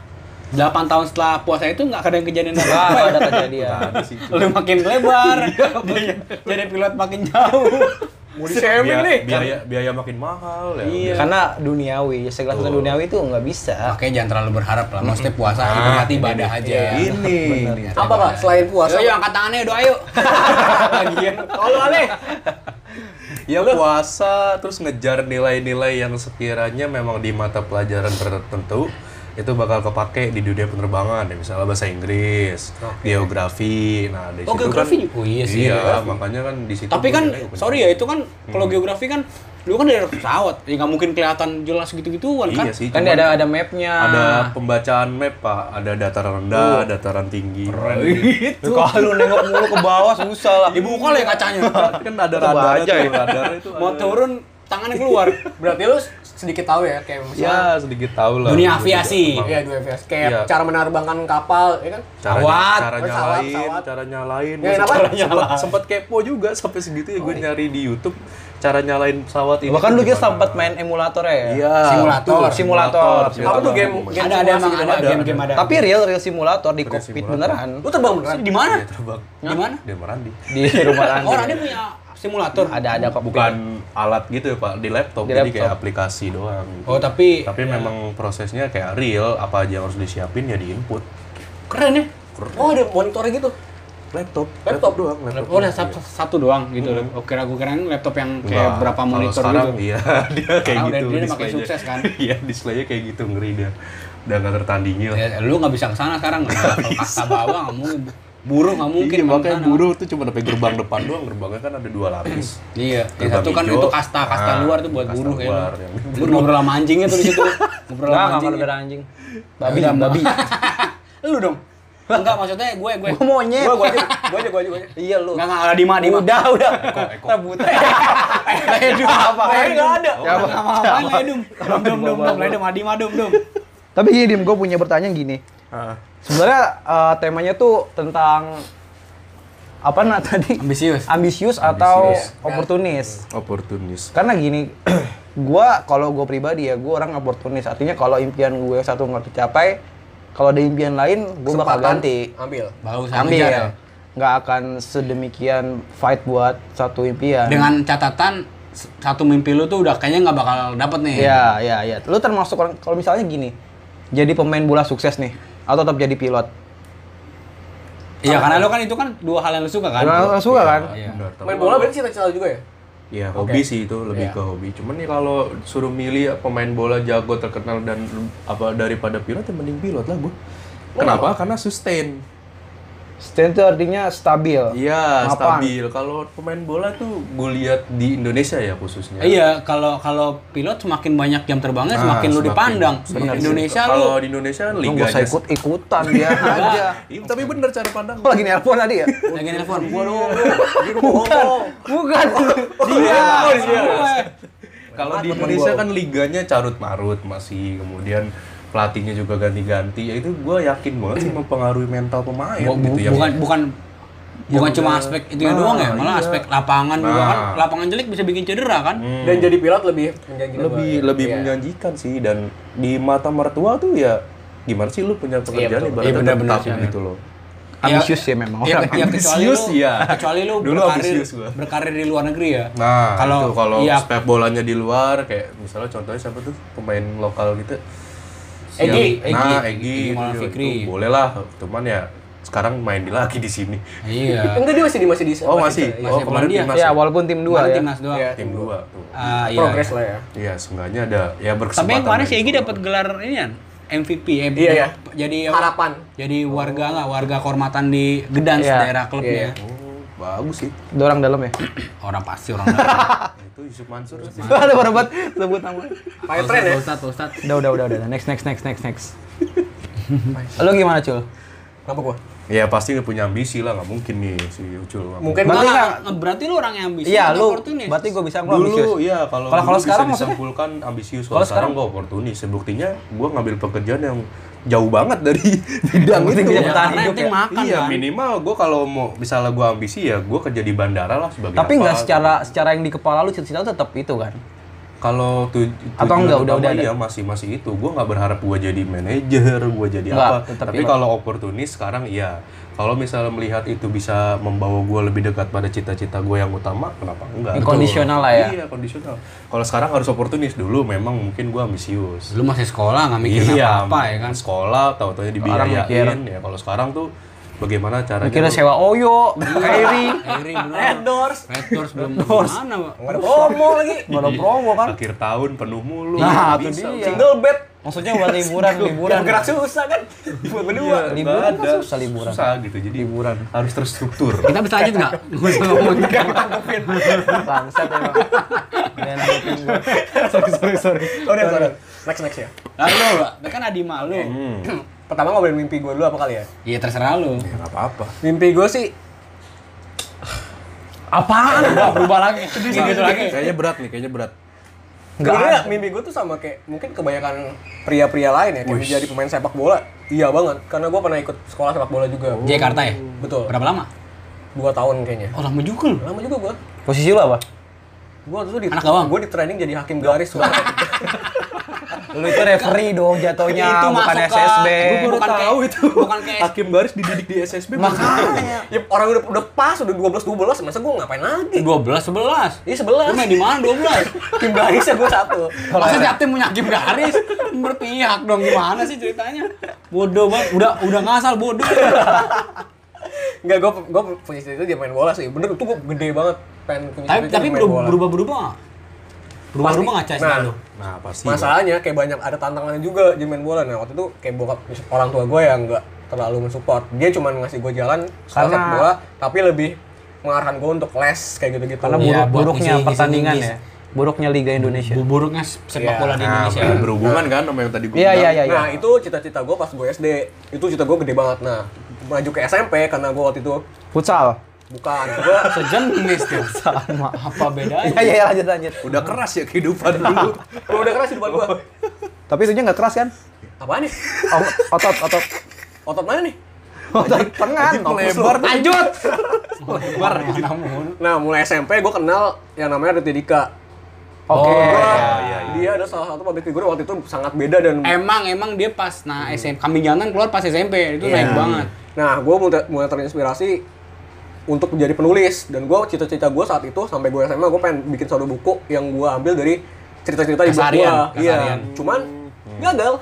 C: 8 tahun setelah puasa itu nggak ada yang kejadian
B: Wah,
C: apa
B: ada
D: dua. Nah,
B: kejadian.
D: ada sih.
C: Lu makin lebar,
B: Iya,
C: jadi- jadi pilot makin jauh.
A: Mau di
D: Biaya-
A: shaming nih.
D: biaya biaya makin mahal ya.
C: Iya. Nah,
B: Karena duniawi, sekelas
D: Tuh.
B: duniawi itu nggak bisa.
C: Makanya jangan terlalu berharap lah. Maksudnya puasa
D: Nah,
C: ibarat
D: ini
C: ibadah
D: nih.
C: aja. ya.
D: Ini.
A: Apa kak selain puasa?
C: Puasa. Yuk, angkat tangannya doa yuk. Lagian. Tolong Ale.
D: Ya puasa terus ngejar nilai-nilai yang sekiranya memang di mata pelajaran tertentu itu bakal kepake di dunia penerbangan ya misalnya bahasa Inggris, geografi. Nah, di
C: Oh,
D: situ
C: geografi
D: kan,
C: juga. Oh, iya sih,
D: Iya,
C: geografi.
D: makanya kan di situ
C: Tapi
D: gua
C: kan,
D: nilai gua
C: sorry ya, itu kan kalau geografi kan, lu kan dari pesawat, ya nggak mungkin kelihatan jelas gitu-gituan kan?
D: Iya sih.
B: Kan
D: cuman
B: dia ada ada mapnya.
D: ada pembacaan map, Pak. Ada dataran
C: Oh.
D: rendah, dataran tinggi.
C: iya.
B: Itu. Kalau nengok mulu ke bawah susah lah.
C: Dibuka lah ya kacanya.
D: kan ada
B: Coba
D: radar
B: aja
D: aja
B: ya.
D: Radar itu
C: Mau
D: ada.
C: turun, tangannya keluar.
A: Berarti lu sedikit tahu ya kayak misalnya
D: Ya, sedikit tahu lah.
C: Dunia
D: Gua
C: aviasi.
D: juga paham.
A: ya dua FS kayak
D: Iya.
A: cara menerbangkan kapal ya kan?
D: Cara,
C: Pesawat.
D: cara
A: Pesawat,
D: nyalain,
A: pesawat.
D: cara nyalain.
A: Nyalain
D: Gua
A: apa?
D: sempet- sempet, sempet kepo juga sampai segitu ya gue nyari di YouTube cara nyalain pesawat ini.
B: Bahkan lu
D: tuh
B: dia
D: gimana.
B: sempat main emulator ya.
D: Iya.
C: Simulator.
D: betul, Simulator.
B: Apa
D: simulator.
A: tuh game-
D: Gua main.
A: game-
C: ada ada emang ada
D: ada,
C: game-game ada.
B: Tapi real real simulator di kokpit
D: simulator.
B: beneran.
A: Lu terbang beneran?
C: di mana?
D: Iya, terbang.
C: Di mana?
D: Dia merandi.
B: Di rumah Randi.
C: Oh, Rani punya simulator.
B: Iya. Ada ada kokpit.
D: Bukan alat gitu ya Pak, di laptop.
B: Di
D: jadi kayak
B: laptop.
D: aplikasi doang. Iya.
C: Oh, tapi
D: Tapi memang prosesnya kayak real, apa aja yang harus disiapin ya di input.
C: keren ya.
A: Oh ada monitornya gitu.
D: Laptop, laptop, doang, laptop.
C: Oh, udah satu, satu doang gitu. loh. Oke, aku kira laptop yang kayak
D: Nggak,
C: berapa
D: kalau
C: monitor
D: sekarang,
C: gitu.
D: Iya, dia kayak
C: Sekarang udah-
D: gitu.
C: dia udah makin
D: displaynya.
C: sukses kan?
D: Iya, displaynya kayak gitu ngeri dia. Udah nggak tertandingi lah.
C: Ya, lu nggak bisa ke sana sekarang. Kalau kasta bawah nggak mungkin. Buruh nggak mungkin.
D: Iya,
C: kalau
D: makanya
C: kesana.
D: buruh tuh cuma sampai gerbang depan doang. Gerbangnya kan ada dua lapis.
C: Iya, yang
D: Gerbang
C: satu kan
D: hijau.
C: itu kasta, kasta
D: Ah,
C: luar tuh buat
D: kasta
C: buruh
D: luar,
C: ya.
D: yang
C: Lu ngobrol sama anjingnya tuh di situ. Ngobrol
B: Enggak,
C: sama
B: enggak
C: anjingnya.
B: ada anjing. Babi,
C: Udah,
B: babi.
C: Lu dong. Enggak, maksudnya gue gue.
B: Gua monyet.
A: Gua gua aja, gua aja, gua aja, gua aja.
B: Iya lu.
C: Enggak enggak ada Dima, Dima.
B: Udah, udah.
D: Eko.
B: Rebutan.
C: ya.
B: Ledum. Apa?
A: Kayaknya nggak ada.
B: Ya apa?
C: Apa-apa, Ledum. Dum, dum, dum, Ledum, Adima, dum, dum.
B: Tapi gini, Dim, gue punya pertanyaan gini.
D: Ah.
B: Sebenarnya eh, temanya tuh tentang apa nah tadi?
C: Ambisius.
B: Ambisius atau
D: Ambisius.
B: oportunis.
D: Oportunis.
B: Karena gini, gua kalau gue pribadi ya, gue orang oportunis. Artinya kalau impian gue satu nggak tercapai, kalau ada impian lain, gue bakal
A: Kesempatan,
B: ganti.
A: kan? Ambil.
C: Bagus ya?
B: Ambil. Nggak akan sedemikian fight buat satu impian.
C: Dengan catatan s- satu mimpi lu tuh udah kayaknya nggak bakal dapet nih.
B: Iya, iya, iya. Lu termasuk orang kalau misalnya gini, jadi pemain bola sukses nih atau tetap jadi pilot?
C: Iya, karena lu kan itu kan dua hal yang lu suka kan.
B: Orang suka kan?
C: Iya.
D: Benar, tapi-
A: Main bola berarti cita-cita lu juga ya?
D: Iya, hobi sih itu lebih ke hobi. Cuman nih kalau suruh milih ya, pemain bola jago terkenal dan apa daripada pilot, yang mending pilot lah gue. Kenapa? Karena sustain.
B: Stand itu artinya stabil.
D: Iya,
B: Mapan.
D: stabil. Kalau pemain bola tuh gue lihat di Indonesia ya khususnya.
C: Iya, kalau kalau pilot semakin banyak jam terbangnya
D: Nah,
C: semakin lu dipandang.
D: semakin-
C: Indonesia lu
D: Kalau di Indonesia kan
B: Lu nggak
D: liganya.
B: usah ikut ikutan dia aja.
D: Iya, tapi bener cara pandang.
B: Aku lagi nelpon tadi ya?
C: lagi nelpon.
B: Bukan, bukan.
D: Iya. Kalau di Indonesia kan liganya carut marut masih kemudian pelatihnya juga ganti-ganti. Ya itu gue yakin banget sih mempengaruhi mental pemain
C: Bu- bu-
D: gitu ya. Iya,
C: bukan bukan bukan cuma aspek itu
D: Nah,
C: doang ya, malah
D: iya.
C: aspek lapangan juga kan.
D: Nah. Hmm.
C: Lapangan jelek bisa bikin cedera kan?
A: Dan jadi pilot lebih menjanjikan
D: lebih
A: gua.
D: lebih
A: Iya.
D: menjanjikan sih dan di mata mertua tuh ya gimana sih lu punya
A: betul.
D: pekerjaan ibaratnya
C: Iya, benar-benar
D: tetap
C: sih,
D: gitu loh.
B: Ambisius ya memang. orang.
C: Ya, ya, kecuali
D: ambisius,
C: lu,
D: iya.
C: kecuali lu
D: Dulu
C: berkarir,
D: ambisius gua.
C: berkarir di luar negeri ya.
D: Nah, kalau
C: Kalau-
D: kalau
C: iya.
D: sepak bolanya di luar kayak misalnya contohnya siapa tuh pemain lokal gitu.
A: Egi,
D: Siang- Nah,
C: Egi.
D: Egi,
C: Egi Maulana
D: itu-
C: Fikri.
D: itu boleh lah, cuman ya sekarang main di lagi di sini.
C: Iya.
A: ya? Enggak dia masih di masih di
D: Oh, masih.
A: Iya.
D: Oh,
C: Masih
D: kemarin
C: Polandia.
D: timnas.
B: Ya,
D: ya?
B: walaupun tim
C: Dua
B: dua ya.
C: Timnas doang.
A: Iya.
D: Tim 2 tuh.
C: Ah, iya.
A: Progres lah ya.
D: Iya, seenggaknya ada ya
C: Tapi
D: berkesempatan.
C: yang kemarin si
D: dari
C: Egi
D: situ.
C: dapat gelar ini kan MVP, MVP.
A: Iya, iya.
C: Jadi
A: Harapan.
C: Jadi warga nggak warga kehormatan di Gedan
B: Iya.
C: daerah klubnya.
D: Oh, bagus sih. Nah,
B: Dorang dalam ya.
C: Orang pasti orang daerah.
D: Itu Yusuf Mansur. Iya, sih.
B: Ada baru buat sebut nama.
A: Pakai tren ya.
C: Pak Ustadz, Pak Ustadz.
B: Udah, udah, udah, udah. Next, next, next, next, next. Lo gimana, Cul?
A: Kenapa gua?
D: Ya pasti nggak punya ambisi lah, nggak mungkin nih si Ucul. nggak
A: Mungkin
B: Berarti
C: Berarti, nggak-
B: nggak-
C: nggak- berarti lu orang yang ambisius
B: Iya,
C: atau
B: lu.
C: oportunis?
B: Berarti gue bisa gue ambisius.
D: dulu
C: iya.
D: ya kalau
B: Kalau-
D: dulu
B: kalau
D: bisa
B: sekarang maksudnya?
D: disimpulkan ambisius
B: Kalau
D: kalau sekarang gue oportunis sebuktinya gue ngambil pekerjaan yang jauh banget dari bidang
B: Yang
D: itu
B: penting bisa bertahan
C: Karena Gitu. yang
B: hidup
C: penting
B: ya.
C: makan
D: iya
C: kan.
D: minimal gue kalau mau misalnya gue ambisi ya gue kerja di bandara lah sebagai
B: Tapi nggak
D: apa.
B: secara secara yang di kepala lu cita-cita lu tetap itu kan?
D: kalau tu,
B: Atau enggak, udah- udah ada?
D: ya masih masih itu gue nggak berharap gue jadi manajer gue jadi
B: Enggak,
D: apa
B: tetap
D: tapi
B: iya.
D: kalau oportunis sekarang iya kalau misalnya melihat itu bisa membawa gue lebih dekat pada cita-cita gue yang utama kenapa enggak
B: Betul. Kondisional lah ya.
D: iya kondisional kalau sekarang harus oportunis dulu memang mungkin gue ambisius Iya,
C: Lu masih sekolah nggak mikirin apa-apa ya kan?
D: sekolah tahu taunya dibiayain
B: mikir.
D: ya kalau sekarang tuh bagaimana caranya
B: Kira
D: lu-
B: sewa Oyo, Kairi,
C: Eri bener.
A: Red doors.
C: Red Doors belum mana, Pak?
A: Nggak ada promo lagi.
B: nggak ada promo kan?
D: akhir tahun penuh mulu
B: Nah,
D: nggak
B: itu
D: bisa.
B: dia.
A: Single bed.
B: Maksudnya buat liburan, liburan.
A: Yang gerak
C: ya.
A: susah kan. Buat berdua.
D: Iya,
B: Liburan
D: nggak
B: kan
D: ada.
B: susah liburan.
D: susah gitu jadi liburan harus terstruktur
C: Kita bisa lanjut nggak? Nggak usah ngomong.
B: Bangsat emang. Dan ngikutin gua.
A: Sorry, sorry. Next next ya.
C: Lalu, Pak, itu kan Adi malu.
A: Pertama ngobrolin mimpi gua dulu apa kali ya?
C: Iya terserah lu.
D: ya nggak apa-apa
A: Mimpi gua sih
C: Apaan? berubah lagi. Gitu lagi.
D: Nah, kayaknya berat nih kayaknya berat
A: Sebenarnya mimpi gue tuh sama kayak mungkin kebanyakan pria-pria lain ya kayak jadi pemain sepak bola. Iya banget, karena gue pernah ikut sekolah sepak bola juga.
C: Jakarta ya?
A: Betul.
C: Berapa lama?
A: Dua tahun kayaknya.
C: Oh lama juga lu.
A: Lama juga gue.
B: Posisi lu apa?
A: Gue tuh di
C: Anak gawang?
A: Gue di training jadi hakim garis. Gua-
B: Lu itu referee dong jatuhnya,
C: Itu masuk
B: bukan
C: ke-
B: SSB.
C: Gua baru
D: bukan
C: tahu
D: tahu
C: itu.
D: itu
C: Bukan kayak-
D: hakim garis dididik di SSB
B: Makanya.
A: ya orang udah udah pas udah 12 12 masa gue ngapain lagi?
C: 12 11.
A: Ini
C: Lu
A: 11.
C: main di mana 12?
A: Hakim garisnya gue satu.
C: Masa tiap tim punya hakim garis? Berpihak dong gimana sih ceritanya? Bodoh banget. Udah udah ngasal bodoh.
A: Enggak gue gue punya cerita dia main bola sih. Bener tuh gue gede banget pengen punya
C: tapi
A: cita-cita
C: tapi
A: main bola.
C: berubah-berubah nggak? Berubah-berubah nggak
A: Pasti.
C: cah selalu?
A: Nah,
D: nah pasti
A: masalahnya kayak banyak ada tantangannya juga di main bola nah waktu itu kayak bokap orang tua gue yang nggak terlalu mensupport dia cuma ngasih gue jalan sekolah
B: Karena-
A: sepak bola tapi lebih mengarahkan gue untuk les kayak gitu gitu
B: Karena
C: Iya,
B: buruk,
C: buat
B: buruknya
C: ngisi- ngisi
B: pertandingan
C: Inggris.
B: ya. Buruknya Liga Indonesia.
C: Buruknya sepak
A: Iya.
C: bola di
D: nah
C: Indonesia.
D: berhubungan kan sama yang tadi gue
B: Iya, iya, iya.
A: nah itu cita-cita gue pas gue SD itu cita gue gede banget nah maju ke SMP karena gue waktu itu
B: Futsal.
A: bukan gue
C: Sejenis tuh.
B: Sama.
C: Apa bedanya?
B: Iya, iya, lanjut, lanjut. Nah,
D: udah keras ya kehidupan dulu
A: udah keras hidupan gue
B: Tapi itunya nggak keras kan?
A: Apaan nih?
B: O- Otot, otot.
A: Otot mana nih?
B: Otot tengah.
D: Lebar tuh.
C: iya, Lanjut. Lebar. Namun.
A: Nah, mulai SMP gue kenal yang namanya Riti Dika.
B: Oke. iya,
C: iya.
A: Dia ada salah satu public figure waktu itu sangat beda dan
B: Eh.
C: Emang emang dia pas nah SMP kambing jantan keluar pas SMP itu naik banget.
A: Nah, gue mulai, mulai terinspirasi untuk menjadi penulis dan gue cita-cita gue saat itu sampai gue SMA gue pengen bikin satu buku yang gue ambil dari cerita-cerita di blog gue.
C: Keseharian,
A: Iya.
C: keseharian. Hmm. Iya,
A: Cuman gagal.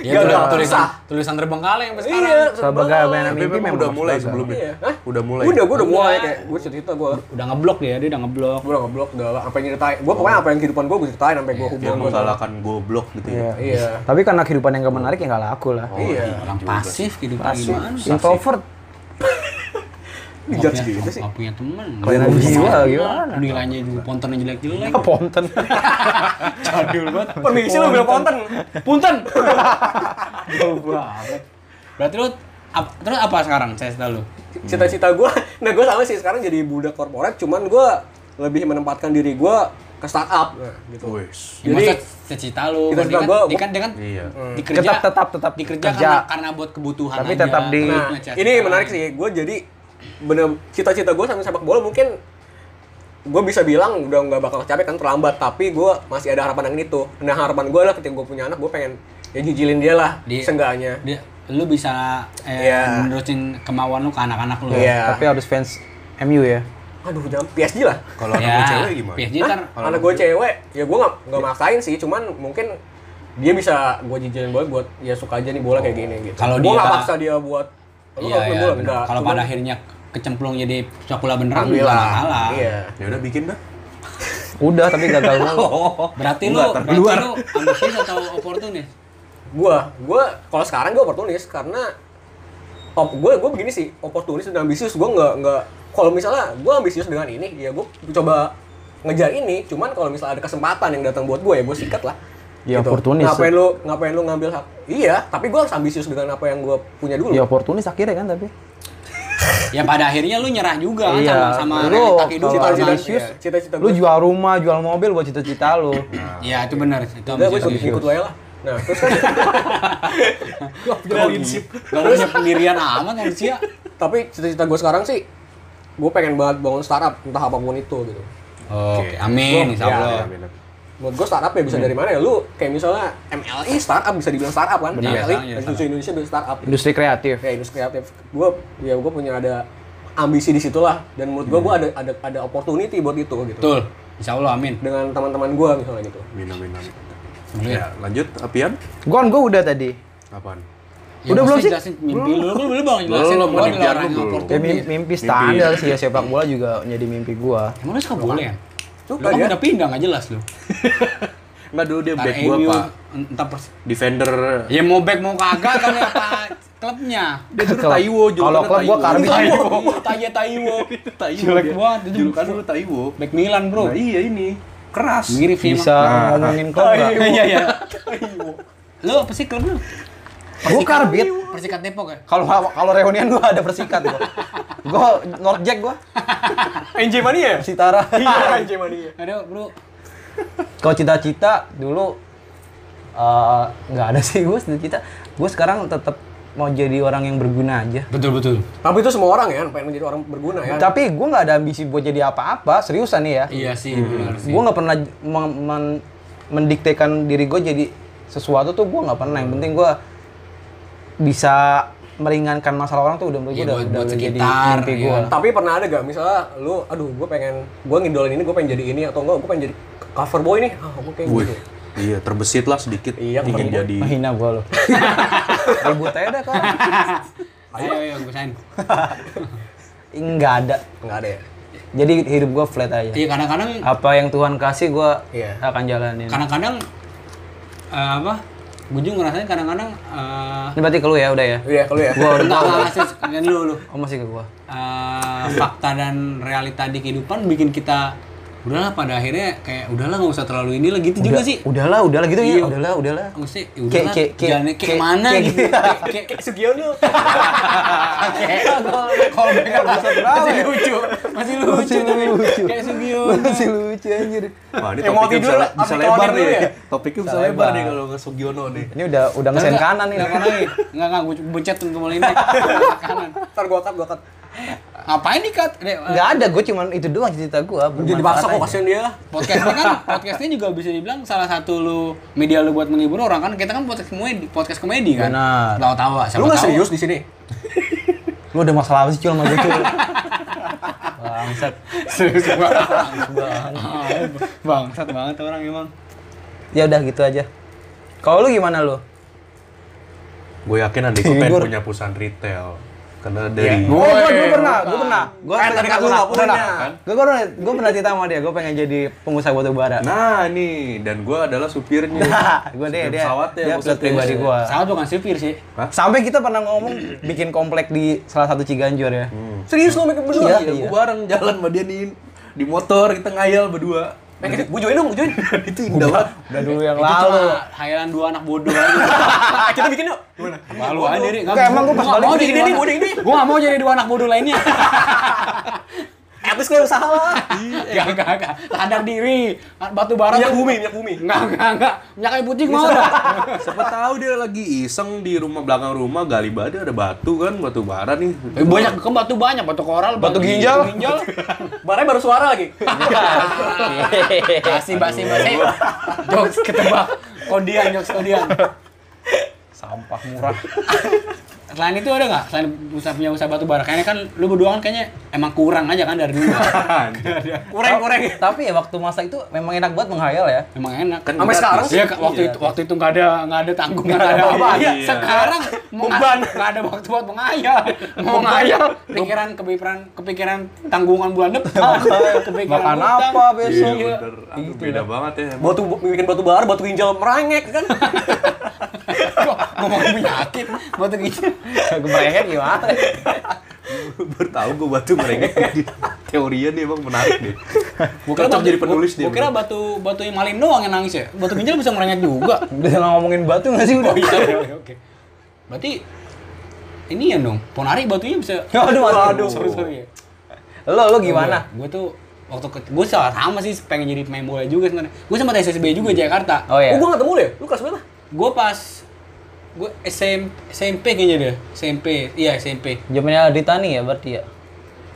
C: Dia
A: Gagal.
C: tulis- tulisan
A: Susah.
C: tulisan terbengkalai sampai sekarang.
A: Iya.
B: Sebagai mainan
D: Tapi
B: mimpi
D: memang
B: memang
D: udah
B: harus
D: mulai
B: gagal.
D: sebelumnya.
A: Iya. Hah?
D: ya? Udah mulai.
A: Udah, gue udah
C: Udah.
A: mulai kayak gue cerita gue
C: Udah ngeblok dia, dia udah ngeblok.
A: gue udah ngeblok udah apa yang ceritain gue pokoknya apa yang kehidupan gue gue ceritain sampai gue
D: Dia
A: hubungan gue
D: mengsalahkan goblok gitu ya.
A: iya
B: Tapi karena kehidupan yang gak menarik ya gak laku lah.
A: iya
C: Orang pasif gitu gimana?
B: Introvert.
A: dijudge gitu sih
C: Gak punya temen.
B: Kelainan jiwa gimana?
C: Nilainya juga pontonnya jelek-jelek.
B: Ponten.
C: Jadul banget.
A: permisi lu bilang konten
C: Punten. Jauh banget. Berarti lu ap- terus apa sekarang cita lu?
A: cita-cita gue nah gue sama sih sekarang jadi budak korporat cuman gue lebih menempatkan diri gue ke startup nah,
B: Iya.
A: gitu
D: Wis.
C: Ya,
A: Jadi-
C: maksudnya cita lu.
A: Cita-cita
C: dia kan-
A: gua-
C: dia kan dia kan
D: Iya.
C: dikerja
B: Tetap, tetap, tetap
C: dikerja
B: kerja.
C: Karena, karena buat kebutuhan
B: Tapi
C: aja.
B: tetap di-
A: nah
C: Cita-cita.
A: ini menarik sih gue jadi bener cita-cita gue sama sepak bola mungkin gue bisa bilang udah nggak bakal capek kan terlambat tapi gue masih ada harapan yang itu nah harapan gue lah ketika gue punya anak gue pengen ya jijilin dia lah
C: Di-
A: seenggaknya
C: Dia, lu bisa eh,
A: Iya.
C: nerusin kemauan lu ke anak-anak lu.
A: iya
B: Tapi harus fans MU ya.
A: aduh jangan PSG lah
D: Kalau anak
C: Ya,
D: gue cewek gimana?
C: PSG
A: Hah?
C: ntar
D: Kalau
A: anak
D: anak
A: gue
D: gue-
A: cewek ya gue nggak nggak maksain sih cuman mungkin dia bisa gue jijilin bola buat ya suka aja nih bola kayak gini gitu
C: Kalau
A: gue
C: dia-
A: nggak paksa dia buat lu
C: Iya,
A: nggak
C: iya,
A: main bola
C: benar.
A: enggak
C: Kalau
A: Cuman,
C: pada akhirnya kecemplung jadi sepak bola beneran juga
A: alhamdulillah
C: nggak masalah.
A: iya
D: Ya udah bikin dah.
B: Udah tapi gagal mulu.
C: Berarti lu,
D: Enggak, ntar
C: berarti
D: keluar.
C: lu ambisius atau oportunis?
A: gue gue kalau sekarang gue oportunis karena op gue gue begini sih oportunis dan ambisius gue nggak nggak kalau misalnya gue ambisius dengan ini ya gue coba ngejar ini cuman kalau misalnya ada kesempatan yang datang buat gue ya gue sikat lah Gitu.
B: Ya, oportunis.
A: ngapain lu ngapain lu ngambil hak iya tapi gue harus ambisius dengan apa yang gue punya dulu
B: Ya oportunis akhirnya kan tapi.
C: Ya pada akhirnya lu nyerah juga kan
B: Iya.
C: sama,
B: Lu
C: sama realita kehidupan.
B: kalau
C: Sama-
B: ambisius,
A: iya, cita-cita
B: Lu
A: gua-
B: jual rumah, jual mobil buat cita-cita lu.
C: Iya itu benar. Itu
A: Enggak, gue ikut,
C: ambisius.
A: ikut wae lah. Nah, terus kan,
C: Gak Gak punya pendirian amat manusia.
A: tapi cita-cita gue sekarang sih, gue pengen banget bangun startup, entah apapun itu gitu.
C: Oke, amin.
D: Iya,
C: Insya
A: Ya,
C: Allah.
A: Menurut gue startup ya bisa
C: Hmm.
A: dari mana ya? Lu kayak misalnya MLI startup bisa dibilang startup kan?
C: Benar.
A: MLI,
C: Iya,
A: Institusi Indonesia bisa startup.
B: Industri kreatif.
A: Ya, industri kreatif. Gue, ya gue punya ada ambisi di situ lah. Dan menurut gue, gue ada, ada, ada opportunity buat itu gitu.
C: Hmm. Betul. Insya Allah amin.
A: Dengan teman-teman gue misalnya gitu.
D: Minum minum. Ya, lanjut Apian.
B: Gon gue udah tadi.
D: Apaan?
C: Ya,
B: Udah belum
C: maksudnya
B: sih?
C: Jelasin mimpi lu lu belum bang jelasin.
D: Belum,
C: Gua adalah
D: mimpi
C: orang
D: aku
C: yang
D: belum.
B: Ya
C: oportunis.
B: mim- mimpi standar sih ya sepak bola juga jadi mimpi gua.
C: Emang lu suka bola ya? Lu
A: Suka
C: kan
A: dia.
C: udah pindah nggak jelas lu.
D: Enggak dulu dia
C: Ntar
D: back gua,
C: MU,
D: Pak.
C: Entah pers.
D: Defender
C: Ya mau back mau kagak kan ya Pak klubnya.
B: Kalau
D: Taiwo, julukannya
B: kalau klub gua
D: Taiwo.
B: Karbi.
C: Taya Taiwo.
D: Taiwo.
C: Jelek
D: dia.
C: banget, itu
D: ya. Julukan
C: bro.
D: dulu Taiwo.
C: Back Milan bro.
D: Nah, iya ini. Keras.
A: Iya,
C: Mirip sih
B: Bisa
D: Nah.
B: ngomongin klub enggak?
C: Iya iya. Lu apa sih klub lu?
B: Gua Karbit.
C: Persikat Depok ya?
B: Kalau kalau reunian gua ada persikat gua. gua North Jack gua.
A: NJ Mania ya?
B: Sitara.
A: Iya, NJ Mania.
C: Aduh bro.
B: Kalau cita-cita dulu eh, nggak ada sih gua cita-cita. Gua sekarang tetap mau jadi orang yang berguna aja.
C: Betul betul.
A: Tapi itu semua orang ya, pengen menjadi orang berguna ya.
B: Tapi gua nggak ada ambisi buat jadi apa-apa, seriusan nih ya.
C: Iya sih benar sih.
B: Gua nggak pernah j- meng- men- mendiktekan diri gua jadi sesuatu tuh gua nggak pernah. Yang penting gua bisa meringankan masalah orang tuh udah menurut
C: Iya,
B: gua udah,
C: buat-
B: udah
C: buat
B: jadi
C: sekitar,
B: mimpi
C: iya.
B: gua.
A: Tapi pernah ada gak misalnya lu, aduh gue pengen, gue ngidolin ini, gue pengen jadi ini atau enggak, gue pengen jadi cover boy nih, ah gue kayak
D: Wih.
A: gitu.
D: Iya, terbesit lah sedikit.
A: Iya,
D: ingin
A: keren.
D: jadi
B: Mahina gua loh. Ribut aja dah kan.
C: Ayo ayo gue sign.
B: Nggak ada.
A: Enggak ada ya?
B: Jadi hidup gua flat aja.
C: Iya kadang-kadang
B: Apa yang Tuhan kasih gua
A: Iya.
B: akan jalanin.
C: kadang-kadang eh, apa? Gue juga ngerasain kadang-kadang eh,
B: Ini berarti ke lu ya udah ya.
A: Iya, kalau ya.
B: Gua udah
C: Enggak, enggak, enggak, sis. Jangan dulu, dulu.
B: Oh masih ke gua.
C: Eh, fakta dan realita di kehidupan bikin kita udahlah pada akhirnya kayak udahlah nggak usah terlalu ini lah gitu juga sih
B: udahlah udahlah gitu ya
C: Iya.
B: udahlah udahlah
C: maksudnya ya
B: Kayak-
C: udahlah
B: kayak- kayak-
C: jalannya kayak
B: kayak-
C: mana
B: kayak
C: gitu
B: gitu.
C: Kayak- kayak
A: Sugiono.
C: kalau mereka bisa
B: berapa
C: masih
B: ya?
C: lucu masih lucu tapi
B: lucu.
C: kayak Sugio
B: masih lucu anjir
D: Wah, ini
A: Eh, mau
D: topiknya
A: tidur,
D: bisa,
A: apa
D: bisa
A: keluarin
D: lebar
A: dulu
D: nih.
A: ya?
D: Topiknya
B: Bisa
D: bisa lebar
B: lebar.
D: nih kalau nggak Sugiono nih.
B: ini udah udah ngesen kanan nih
C: nggak lagi nggak nggak gue buncet kembali ini kanan
A: Ntar gua cut, gua cut.
C: ngapain nih kat Eh,
B: nggak ada gue cuman itu doang cerita gue
A: Jadi dipaksa kok kasihan dia.
C: podcastnya kan podcastnya juga bisa dibilang salah satu lu media lu buat menghibur orang kan kita kan podcast komedi podcast komedi kan
B: Benar.
C: tawa-tawa siapa
A: Lu nggak
C: tahu.
A: serius di sini?
B: lu ada masalah apa sih cuma sama gue Cul? bangsat
C: serius banget Ah, bangsat banget orang emang
B: ya udah gitu aja kalau lu gimana lu
D: Gue yakin Andiko pengen
B: Tidur.
D: punya perusahaan retail. Karena dari
B: Oh, gue gue pernah, gue pernah. Gue
A: Eh, tadi kan lu nggak punya, kan?
B: Gue pernah, gue pernah cerita sama dia. Gue pengen jadi pengusaha batu bara.
D: Nah, nih dan gue adalah supirnya.
B: gue deh,
D: Supir
B: dia,
D: pesawatnya,
B: dia
D: buset
B: pilot pribadi
D: dia.
B: gue.
C: salah bukan sipir sih
D: Hah?
B: Sampai kita pernah ngomong bikin komplek di salah satu Ciganjur ya.
A: Serius lu mikir
D: Iya,
A: berdua?
B: Iya.
D: gue bareng jalan sama dia nih di motor kita ngayal berdua.
A: Eh, gue join dong, gue join.
D: itu indah banget.
B: Udah dulu yang
C: itu
B: lalu.
C: cuma hayalan dua anak bodoh aja
A: Kita bikin yuk. Gimana?
C: malu aja nih
B: Nggak, emang gua pas balik
C: mau
B: jadi
C: jadi
A: dua
C: ini
A: anak-
C: gue ini gue nggak mau jadi dua anak bodoh lainnya
A: At least gue usaha lah.
C: Gak, gak, gak. Sadar diri. Batu bara
A: Minyak
C: tuh-
A: bumi, minyak bumi.
C: Enggak, enggak, enggak. Minyak kayu putih mau dah.
D: Siapa tahu dia lagi iseng di rumah belakang rumah gali badai ada batu kan batu bara nih.
C: Eh, Banyak kan batu banyak, batu koral,
B: Batu ginjal.
C: batu ginjal.
A: Barangnya baru suara lagi.
C: Basi, basi, basi. Jokes ketebak. Kodian, jokes kodian.
B: Sampah murah.
C: Selain itu ada nggak? Selain usaha punya usaha batu bara, kayaknya kan lu berdua kan kayaknya emang kurang aja kan dari dulu.
A: Kurang, kurang.
B: Tapi ya waktu masa itu memang enak banget menghayal ya.
C: Emang enak.
D: Kan
A: Sampai
D: gratis.
A: sekarang
C: Iya, Kak, waktu itu waktu itu nggak ada nggak ada tanggungan nggak ada apa.
D: apa-apa. Iya.
C: Sekarang mau
A: Beban.
C: nggak- nggak ada waktu buat mengayal, mau ngayal. Pikiran kepikiran kepikiran tanggungan bulan depan, kepikiran
B: Makan
C: hutang.
B: apa
D: Iya
B: besok?
D: bener, Aduh, beda banget ya. emang.
A: Batu bikin batu bara, batu ginjal merengek kan.
C: Kok ngomong penyakit buat gitu.
B: Kebayangnya gimana?
D: Baru tahu gue batu merengek. Teorinya nih emang menarik deh. Cocok jadi penulis dia.
C: Gue kira batu batu yang malin doang yang nangis ya. Batu ginjal bisa merengek juga.
B: Udah ngomongin batu nggak sih udah?
C: Oh iya, oke, oke. Berarti ini ya dong, ponari batunya bisa.
B: Aduh, aduh.
C: sorry sorry ya.
B: Lo lo gimana?
C: Gue tuh waktu ke, gue sama, sama sih pengen jadi pemain bola juga sebenarnya. Gue sempat SSB juga Jakarta.
B: Oh iya.
A: Oh, gue ketemu lu ya? Lu kelas berapa?
C: Gue pas gue SM, SMP kayaknya deh, SMP, iya SMP.
B: Zamannya Ditani ya berarti ya.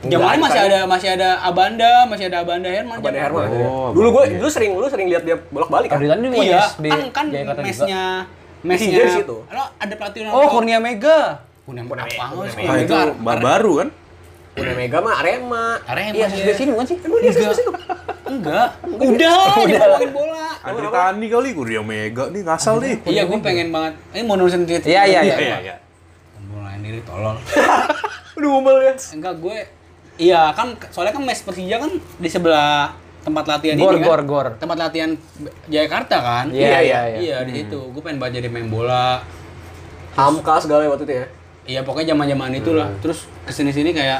C: Zamannya masih ada masih ada Abanda, masih ada Abanda Herman.
A: Abang
C: zaman-
A: Herman.
D: Oh, Abang
A: dulu gue,
D: dia.
A: dulu sering, lu sering lihat dia bolak-balik kan?
B: Abdilan dulu ya,
C: Iya,
B: SD
C: kan kan
B: Jakarta juga.
C: mesnya
A: Iya,
C: mesnya
A: di situ.
C: Lo ada pelatih
B: Oh, Kurnia Mega.
C: Kurnia apa?
D: Wah,
C: Kurnia
D: Ah, itu bar- baru kan?
A: Udah Mega mah Arema.
C: Arema,
A: Iya,
C: iya.
A: di sini bukan sih? Emang dia
C: Enggak.
A: sini lu?
C: Enggak. Udah, jangan ngomongin bola.
D: Andri Tani kali, Kurnia Mega nih ngasal nih.
C: Iya, gue pengen banget. Ini mau nulisin tweet.
B: Iya, iya, iya.
D: iya.
C: Pembelain diri tolol.
A: Aduh, ngomel ya.
C: Enggak, gue Iya, kan soalnya kan mes Persija kan di sebelah tempat latihan
B: Gor,
C: ini kan.
B: gor, gor.
C: Tempat latihan Jakarta kan?
B: Iya, iya, iya.
C: Iya, di situ. Gue pengen banget jadi main bola.
A: Hamka segala waktu itu ya.
C: Iya, pokoknya zaman-zaman itulah. Terus kesini sini kayak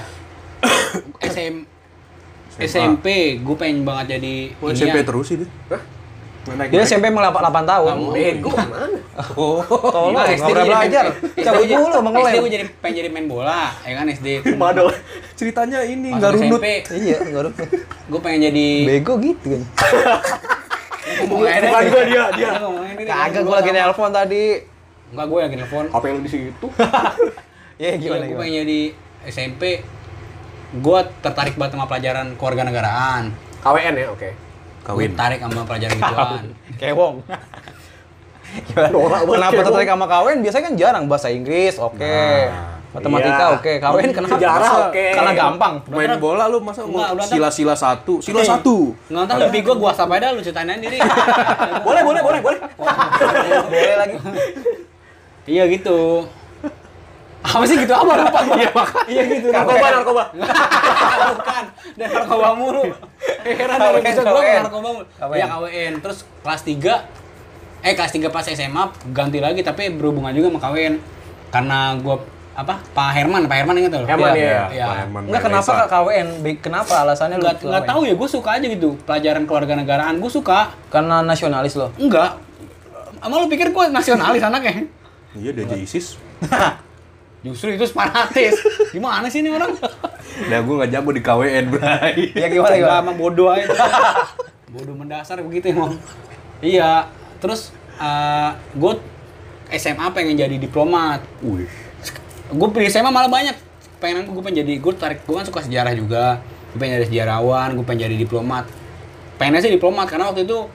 C: SM SMP, gue pengen banget jadi
D: Oh,
C: inian.
D: SMP terus sih dia.
A: Hah?
D: Naik-
B: Dia
D: naik.
B: SMP emang 8 tahun.
C: Kamu.
A: Bego mana?
D: Oh.
B: Tolong,
C: Iya,
B: nggak
C: SD
B: pernah
C: jadi-
B: belajar.
C: SD
B: Cabut
C: jadi-
B: dulu sama
C: SD
B: ngelem.
C: gue jadi pengen jadi main bola, ya kan SD.
A: Madol.
D: Ceritanya ini
C: Masuk
D: nggak runut.
C: SMP,
B: Iya, enggak ada.
C: gue pengen jadi
B: Bego gitu kan.
A: Bukan gua, dia, dia.
B: Kagak gua lagi nelpon tadi.
C: Enggak, gue lagi nelfon.
A: Apa yang lu di situ?
B: Ya
C: Iya,
B: gimana
C: gue
B: gimana.
C: pengen jadi SMP. Gue tertarik banget sama pelajaran kewarganegaraan.
A: KWN ya, oke.
C: Gue tertarik sama pelajaran gituan.
B: Kewong. Gimana?
A: Norak banget
B: Kenapa
A: kewong.
B: tertarik sama kawin? Biasanya kan jarang bahasa Inggris, oke.
A: iya.
C: Nah,
B: Matematika oke, kawin kenapa?
A: Sejarah,
B: Masa-
A: oke.
B: Karena gampang.
D: Main bola lu masa
C: Nggak, udah, ntar.
D: sila-sila satu, sila
C: Eh,
D: satu.
C: Nggak tahu lebih gue gua sapa aja lu ceritain aja diri.
A: Boleh, boleh, boleh, boleh.
B: Boleh lagi.
C: Iya gitu. Apa sih gitu apa lupa gua. Iya gitu.
A: Narkoba, narkoba.
C: bukan dari narkoba mulu Eh, heran dari
B: KWN,
C: bisa gue
B: KWN.
C: narkoba mulu
B: KWN.
C: ya KWN terus kelas 3 eh kelas 3 pas SMA ganti lagi tapi berhubungan juga sama KWN karena gue apa Pak Herman Pak Herman ingat loh
A: Herman,
B: Iya.
A: ya.
C: Iya.
D: Pak Herman
B: Enggak
D: Pak
B: kenapa
D: Reza.
B: Kak KWN? Baik, Kenapa alasannya lu
C: nggak
B: KWN?
C: nggak tahu ya gue suka aja gitu pelajaran keluarga negaraan gue suka
B: Karena nasionalis lo.
C: enggak emang lu pikir gue nasionalis anaknya
D: Iya, dia jadi ISIS.
C: justru itu separatis gimana sih ini orang
D: Nah, gue nggak jago di KWN, bray.
B: Ya gimana
C: Enggak,
B: gimana?
C: emang bodoh aja bodoh mendasar begitu emang iya terus eh, gue SMA pengen jadi diplomat
D: Wih.
C: gue pilih SMA malah banyak pengen gue pengen jadi gue tarik gue kan suka sejarah juga gue pengen jadi sejarawan gue pengen jadi diplomat pengennya sih diplomat karena waktu itu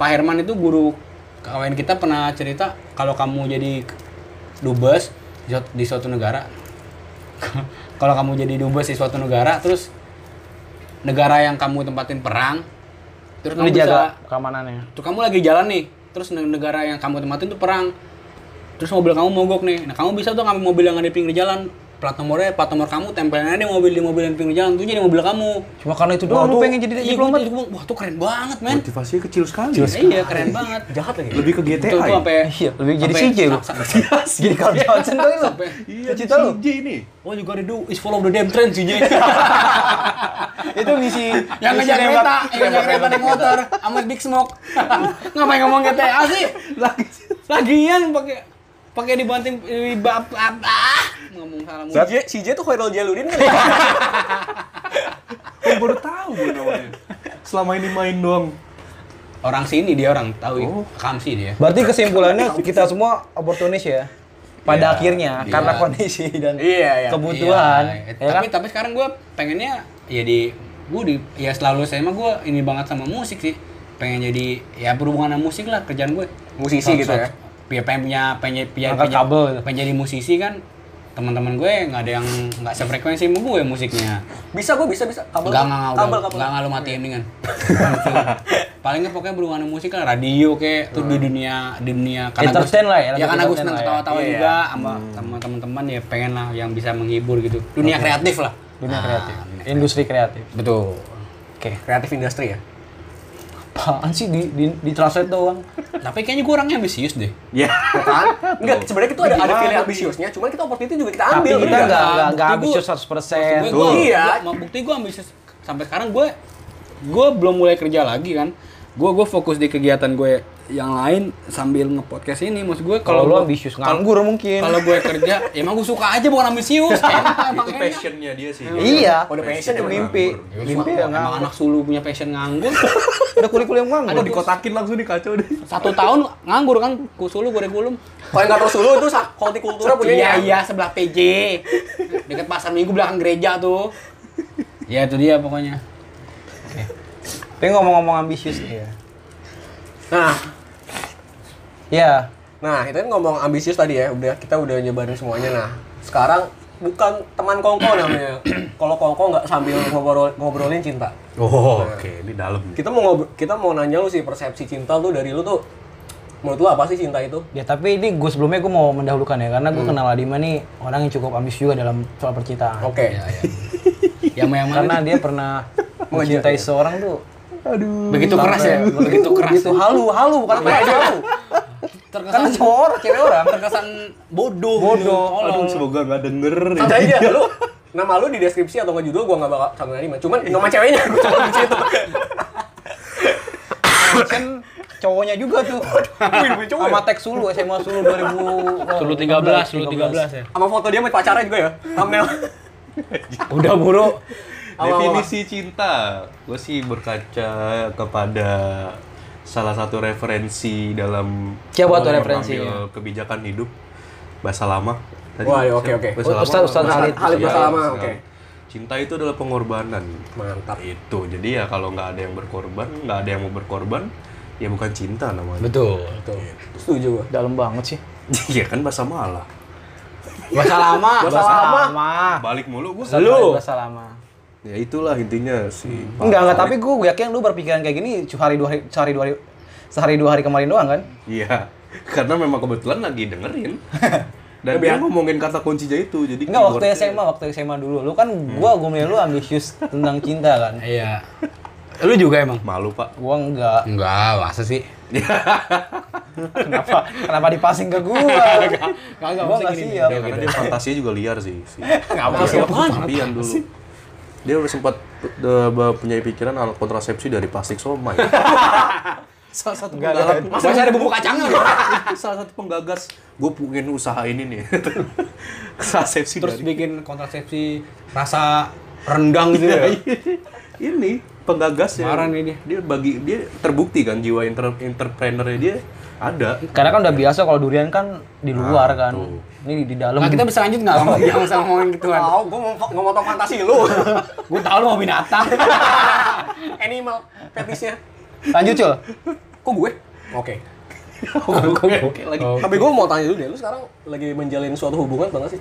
C: Pak Herman itu guru kawan kita pernah cerita kalau kamu jadi dubes di suat- di suatu negara kalau kamu jadi dubes di suatu negara terus negara yang kamu tempatin perang terus
B: Lu
C: kamu bisa
B: jaga keamanannya.
C: Tuh kamu lagi jalan nih, terus ne- negara yang kamu tempatin tuh perang. Terus mobil kamu mogok nih. Nah, kamu bisa tuh ngambil mobil yang ada di pinggir jalan. Plat nomornya, plat nomor kamu tempelin aja di mobil di mobil yang di pinggir jalan. Itu jadi mobil kamu.
B: Cuma karena itu doang lu pengen jadi
C: Iya,
B: diplomat.
C: gua- gua- Wah, tuh keren banget, men.
D: Motivasinya kecil sekali.
C: Iya, keren banget.
A: Jahat lagi.
D: Lebih ke
C: Tuh,
D: GTA.
C: tuh
D: ya?
C: sampai
B: Iya, lebih jadi
C: sampai-
B: CJ lu.
C: sa- sa-
B: Jadi Carl Johnson kali Oh, lu.
C: Sampai-
D: Iya,
B: Cita lu.
D: CJ ini.
C: What you gotta do Oh, is follow the damn train, CJ.
B: Itu misi
C: yang
B: misi
C: ngejar
B: nembak-
C: kereta, yang ngejar kereta naik motor, sama Big Smoke. Ngapain ngomong GTA sih? Lagian pakai pakai dibanting di bab ah, ah. ngomong salah mulu.
A: CJ, CJ tuh Khairul Jaludin kan? ya?
D: Gue baru tahu gue namanya. Selama ini main doang.
C: Orang sini dia orang tahu Kamsi dia.
B: Berarti kesimpulannya kita semua oportunis ya. Pada akhirnya
C: iya.
B: karena kondisi dan
A: Iya, iya.
B: kebutuhan.
C: Iya,
B: ya
C: tapi
B: kan?
C: tapi sekarang gue pengennya ya di gue di ya selalu saya mah gue ini banget sama musik sih. Pengen jadi ya berhubungan sama musik lah kerjaan gue.
A: Musisi
C: Suatu-
A: gitu ya?
C: suatu- Ya pengen punya pengen punya
B: Angkat
C: punya-
B: kabel gitu.
C: pengen jadi musisi kan teman-teman gue nggak ada yang nggak sefrekuensi sama gue musiknya.
A: Bisa gue bisa bisa. Kabel.
C: Enggak enggak enggak
A: kabel
C: udah.
A: kabel. Iya.
C: Enggak enggak lu matiin dengan. Paling nggak pokoknya berhubungan sama musik lah radio kayak tuh
A: Hmm.
C: di dunia di dunia gue-
B: Entertain lah ya,
C: Ya karena
B: entertain
C: gue
B: lah
C: seneng
B: ya.
C: ketawa-tawa
A: Iya.
C: juga sama sama teman-teman ya pengen lah yang bisa menghibur gitu. Dunia kreatif lah.
B: Dunia
C: Ah,
B: kreatif, industri kreatif.
C: Betul.
B: Oke.
A: Kreatif industri ya.
B: Apaan sih di di, di translate doang?
C: Tapi kayaknya gue orangnya ambisius deh.
D: Ya.
A: Bukan? Enggak, sebenarnya itu ada ada pilihan ambisiusnya, cuman kita opportunity juga kita ambil.
B: Tapi kita
A: bener
B: nggak nggak nggak
C: Bukti
B: ambisius
C: gua-
B: 100 Eh,
C: Gue
A: Tuh. Iya.
C: iya. bukti gue ambisius sampai sekarang gue gue belum mulai kerja lagi kan. Gue gue fokus di kegiatan gue yang lain sambil nge-podcast ini. Maksud gue
B: Kalau lu
C: gua-
B: ambisius
C: kalau-
B: nganggur mungkin.
C: Kalau gue kerja, ya emang gue suka aja bukan ambisius. emang
D: Itu
C: enak.
D: passionnya dia sih.
B: iya.
A: Oh, udah passion ya,
B: itu mimpi.
C: Ya,
B: Mimpi
C: suka.
B: ya
C: emang
B: nganggur.
C: anak sulung punya passion nganggur.
B: Udah kuliah-kuliah nganggur.
D: Aduh, dikotakin langsung nih kacau deh.
C: Satu tahun nganggur kan, kusulu kurikulum.
A: Kalau yang nggak tahu sulu itu sa- Kolti Kultura punya ya.
C: Iya iya sebelah PJ. Dekat pasar Minggu belakang gereja tuh. Ya itu dia pokoknya.
B: Tapi ngomong-ngomong ambisius ya.
A: Nah,
B: Ya,
A: nah itu kan ngomong ambisius tadi ya, udah kita udah nyebarin semuanya. Nah, sekarang bukan teman kongko namanya. Kalau kongko nggak sambil ngobrol ngobrolin cinta.
D: Oh, oke. Ini dalam.
A: Kita mau ngobrol, kita mau nanya lu sih persepsi cinta lu dari lu tuh menurut lu apa sih cinta itu?
B: ya tapi ini gue sebelumnya gue mau mendahulukan ya karena gue
C: Hmm.
B: kenal Adima nih orang yang cukup ambisius juga dalam soal percintaan.
A: Oke.
C: Ya, ya. Yang yang mana? Oh,
B: Karena dia pernah
C: iya.
B: mencintai seorang tuh
D: Aduh.
C: Begitu keras ya, begitu keras.
A: Gitu.
B: Itu halu, halu bukan apa ya, halu. Karena
C: Terkesan
B: cowok orang, cewek orang.
C: terkesan bodoh. gitu.
B: Bodoh.
D: Aduh, semoga nggak denger.
A: Santai aja lu. Nama lu di deskripsi atau nggak judul gua nggak bakal sama Nadiman. Cuman nama ceweknya gua cuma di situ.
B: Mention cowoknya juga tuh.
A: Wih, cowok
B: Sama
A: ya?
B: teks Sulu, SMA Sulu 2000.
C: Sulu 13, Sulu 13 ya.
A: Sama foto dia sama pacarnya juga ya. Thumbnail.
B: Udah buruk.
D: Definisi cinta, gue sih berkaca kepada salah satu referensi dalam
B: Siapa tuh
D: mengambil
B: referensinya?
D: kebijakan hidup bahasa lama.
A: Wah, ya, oke,
D: siapa?
A: oke.
D: Bahasa
B: Oh, Ustaz-
D: lama,
B: Ustaz
D: bahasa-
B: Halid.
A: Halid
D: Iya,
A: bahasa lama,
D: bahasa
A: oke.
D: Cinta itu adalah pengorbanan.
A: Mantap.
D: Itu. Jadi ya kalau nggak ada yang berkorban, nggak ada yang mau berkorban, ya bukan cinta namanya.
C: Betul.
A: Tuh. Setuju gua.
B: Dalam banget sih.
D: Iya kan bahasa malah.
C: Bahasa lama.
A: Bahasa lama. Ah.
D: Balik mulu gue.
B: Lu. Bahasa lama. Hmm.
D: Ya itulah intinya sih.
B: Enggak, enggak, tapi gue yakin lu berpikiran kayak gini sehari dua hari, sehari dua hari, sehari dua hari kemarin doang kan?
D: Iya, karena memang kebetulan lagi dengerin. Dan dia ngomongin kata kuncinya itu, jadi
B: Enggak,
C: Iya,
B: waktu
D: keywordnya-
B: SMA, waktu SMA dulu. Lu kan,
C: Hmm.
B: gua gue milih lu ambisius tentang cinta kan?
C: Iya. Lu juga emang?
D: Malu pak.
B: Gua enggak.
C: Enggak, masa sih?
B: kenapa kenapa dipasing ke gua?
C: kagak,
B: gua
C: maksudnya
B: nggak
C: gini
B: siap.
D: Ya, karena dia fantasinya juga liar sih. Si.
A: apa sih, apaan?
D: Tapian dulu. Dia udah sempat eh, punya pikiran al kontrasepsi dari plastik soma ya. Salah satu penggalan.
C: Masa ada bumbu kacangnya?
D: salah satu penggagas gue pengen usaha ini nih. kontrasepsi
C: Terus
D: dari
C: bikin kontrasepsi rasa rendang gitu ya.
D: ini penggagas
C: Marah nih dia.
D: dia bagi dia terbukti kan jiwa inter entrepreneurnya dia ada
B: Karena kan udah biasa kalau durian kan di luar kan.
D: tuh.
B: Ini di, di dalam.
C: Nah, kita bisa lanjut nggak sama yang sama ngomongin gituan?
A: Tahu, gua mau nggak mau tau fantasi lu.
C: Gue tau lu mau binatang.
A: Animal fetishnya.
B: Lanjut, Cul.
A: Kok gue? Oke.
D: oke oke lagi
A: Tapi gue mau tanya dulu deh, lu sekarang lagi menjalin suatu hubungan atau nggak sih?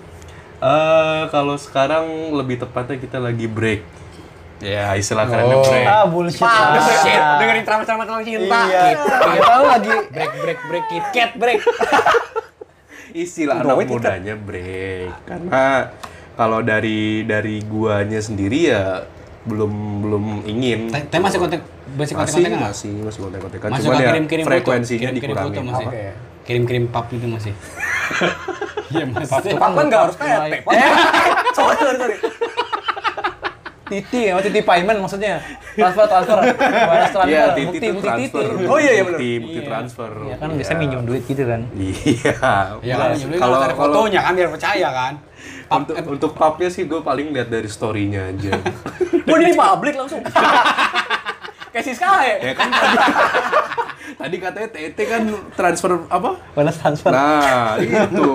D: Eh, kalau sekarang lebih tepatnya kita lagi break ya istilah kerennya
C: Oh.
D: break
B: Ah, bullshit. Ah,
A: Shit, dengerin ceramah-ceramah tentang cinta.
B: Iya. Kita lagi
C: break break break kit cat break.
D: istilah
A: Gawat
D: anak
A: kita.
D: mudanya break karena kalau dari dari guanya sendiri ya belum belum ingin
C: Tapi masih kontak masih kontak
D: masih
C: kontak nggak?
D: masih masih kontak kontakan
C: Masih
D: cuman
C: suka
D: ya
C: kirim-kirim foto?
D: frekuensinya
C: Kirim-kirim foto
D: dikurangin
C: masih.
A: Oke.
C: Kirim-kirim pap itu masih. Iya masih.
A: Cepat kan nggak harus kayak
B: Mulai.
A: tepon. Sorry, sorry, sorry.
B: titi, ya, titi payment maksudnya. Transfer, transfer. Balas transfer.
D: Iya, titi
B: bukti,
D: itu
B: bukti titi.
D: transfer.
A: Oh iya, iya, benar.
D: Bukti, bukti transfer.
B: Iya kan biasanya minjem duit gitu kan.
D: Iya.
C: Ya kan nyebelin kalau ada
D: kalau
C: fotonya kan biar percaya kan. Pap
D: untuk untuk papnya sih gue paling lihat dari story-nya aja.
A: Gue jadi publik langsung. Kayak eh. si Sky.
D: ya kan tadi, tadi katanya TT kan transfer apa?
B: Balas transfer.
D: Nah, itu.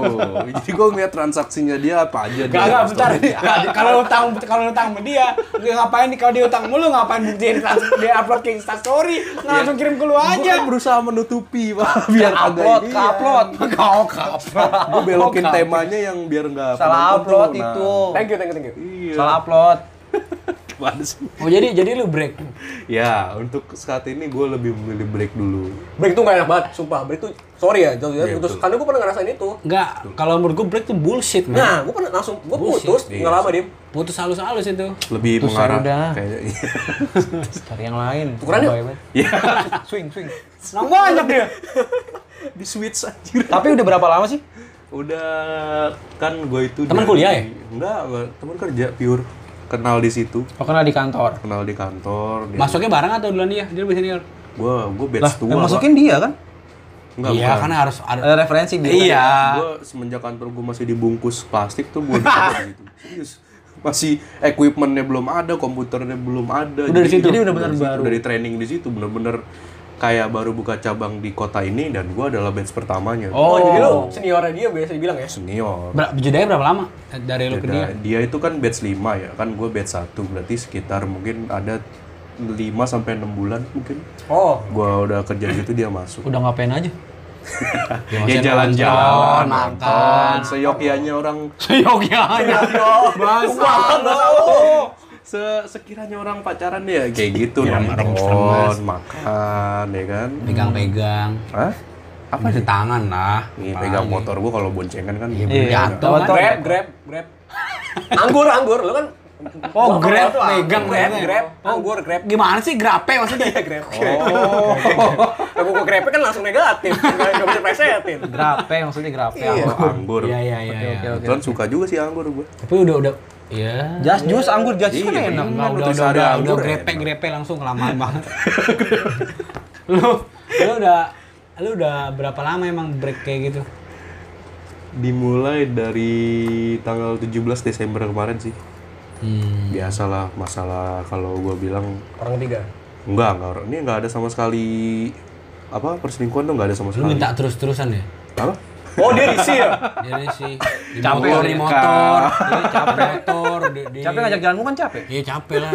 D: Jadi gue ngeliat transaksinya dia apa aja. di
C: Gak, gak,
D: dalam
C: bentar.
D: story-nya.
C: Nggak, Kalau lu utang, kalau lu utang sama dia, nggak ngapain nih kalau dia utang mulu ngapain buktiin trans- dia upload ke Insta story,
D: Iya.
C: langsung kirim ke lu
D: Gue kan
C: aja.
D: berusaha menutupi, Pak. Biar
B: upload,
D: agak
B: ke upload.
C: Kau kapal.
D: Gue belokin temanya yang biar nggak
B: Salah
D: penonton tuh,
B: upload
D: nah.
B: itu.
A: Thank you, thank you, thank you.
D: Iya.
B: Salah upload.
D: Gimana sih?
C: Oh jadi jadi lu break.
D: Ya, untuk saat ini gue lebih memilih break dulu.
A: Break tuh gak enak banget, sumpah. Break tuh, sorry ya, jauh
D: Iya,
A: jauh putus.
D: betul.
A: Karena gue pernah ngerasain itu.
C: Enggak, kalau menurut gue break tuh bullshit, man.
A: Nah, gue pernah langsung, gue
C: Bullshit.
A: putus, nggak lama, Dim.
C: Putus halus-halus itu.
D: Lebih
B: Putus
D: mengarah
B: udah.
D: kayaknya.
B: Cari yang lain.
A: Tukeran yuk.
B: Bahaya banget.
D: Iya.
B: Swing, swing.
C: Senang banyak dia.
D: Di switch anjir.
B: Tapi udah berapa lama sih?
D: Udah kan gue itu
C: Teman
D: dari-
C: kuliah ya?
D: Enggak, enggak, teman kerja pure. Kenal di situ,
B: Oh, kenal di kantor.
D: kenal di kantor. Dia-
C: Masuknya bareng atau duluan dia? Dia lebih senior.
D: Gue gue
B: Lah,
D: batch tua.
B: yang masukin dia kan?
D: Pak. Enggak,
C: iya,
D: bukan.
C: karena harus ada.
B: Ada referensi dia.
C: Iya.
D: Gue semenjak kantor gue masih dibungkus plastik tuh gue gitu. Serius. Masih equipmentnya belum ada, komputernya belum ada.
B: Udah di situ? Jadi udah bener
D: di situ,
B: baru.
D: Dari training di situ bener-bener kayak baru buka cabang di kota ini dan gue adalah batch pertamanya.
A: Oh, jadi lu
B: Oh.
A: seniornya dia biasa dibilang ya?
D: Senior.
C: Ber jedanya berapa lama Eh, dari lu ke dia?
D: Beda. Iya, Dia itu kan batch 5 ya, kan gue batch 1 berarti sekitar mungkin ada 5 sampai 6 bulan mungkin.
A: Oh,
D: Gua udah kerja gitu dia masuk.
B: Udah ngapain aja?
D: ya
C: maksudnya nonton,
D: jalan-jalan, makan, seyokianya orang
C: Seyogyanya. Oh.
D: se sekiranya orang pacaran ya kayak gitu nonton makan ya kan
C: Pegang-pegang.
D: Hah?
C: Apa di tangan lah.
D: Nih, pegang motor gua kalau boncengan kan
C: Jatuh
B: Lewat
C: kan.
B: tol.
A: grab, grab, grab. Anggur, anggur, lu kan.
C: Oh, grab,
A: Anggur,
C: pegang,
A: grab,
C: pegang.
A: grab, anggur, grab.
C: Gimana sih grape maksudnya?
A: Grab. Oh. Aku kok grabnya kan langsung negatif, nggak nggak bisa presetin.
B: Grape, maksudnya grape.
D: Sama Oh, anggur
C: Iya, iya, iya.
B: Oke,
C: iya.
B: oke, oke.
D: Kebetulan suka juga sih anggur gua
C: Tapi udah udah Iya.
B: Jas jus anggur jas jus kan enak.
D: Iya, bener.
C: Enggak, udah,
D: Untuk
C: udah,
D: sehari
C: udah,
D: anggur
C: udah
D: ya, emang.
C: grepe-grepe langsung kelamaan banget. lu, lu udah, lu udah berapa lama emang break kayak gitu?
D: dimulai dari tanggal 17 Desember kemarin sih
C: Hmm.
D: biasalah masalah kalau gua bilang
A: Orang ketiga.
D: enggak enggak ini enggak ada sama sekali apa perselingkuhan tuh enggak ada sama
C: Lu
D: sekali
C: minta terus-terusan ya?
D: apa
B: Iya,
A: Oh, dia risi ya?
C: Jadi sih, di
B: Capek
C: motor,
B: kali
C: di
B: ya.
C: motor, Iya, capek motor, di, di-
B: Capek ngajak jalanmu kan capek.
C: Iya capek lah.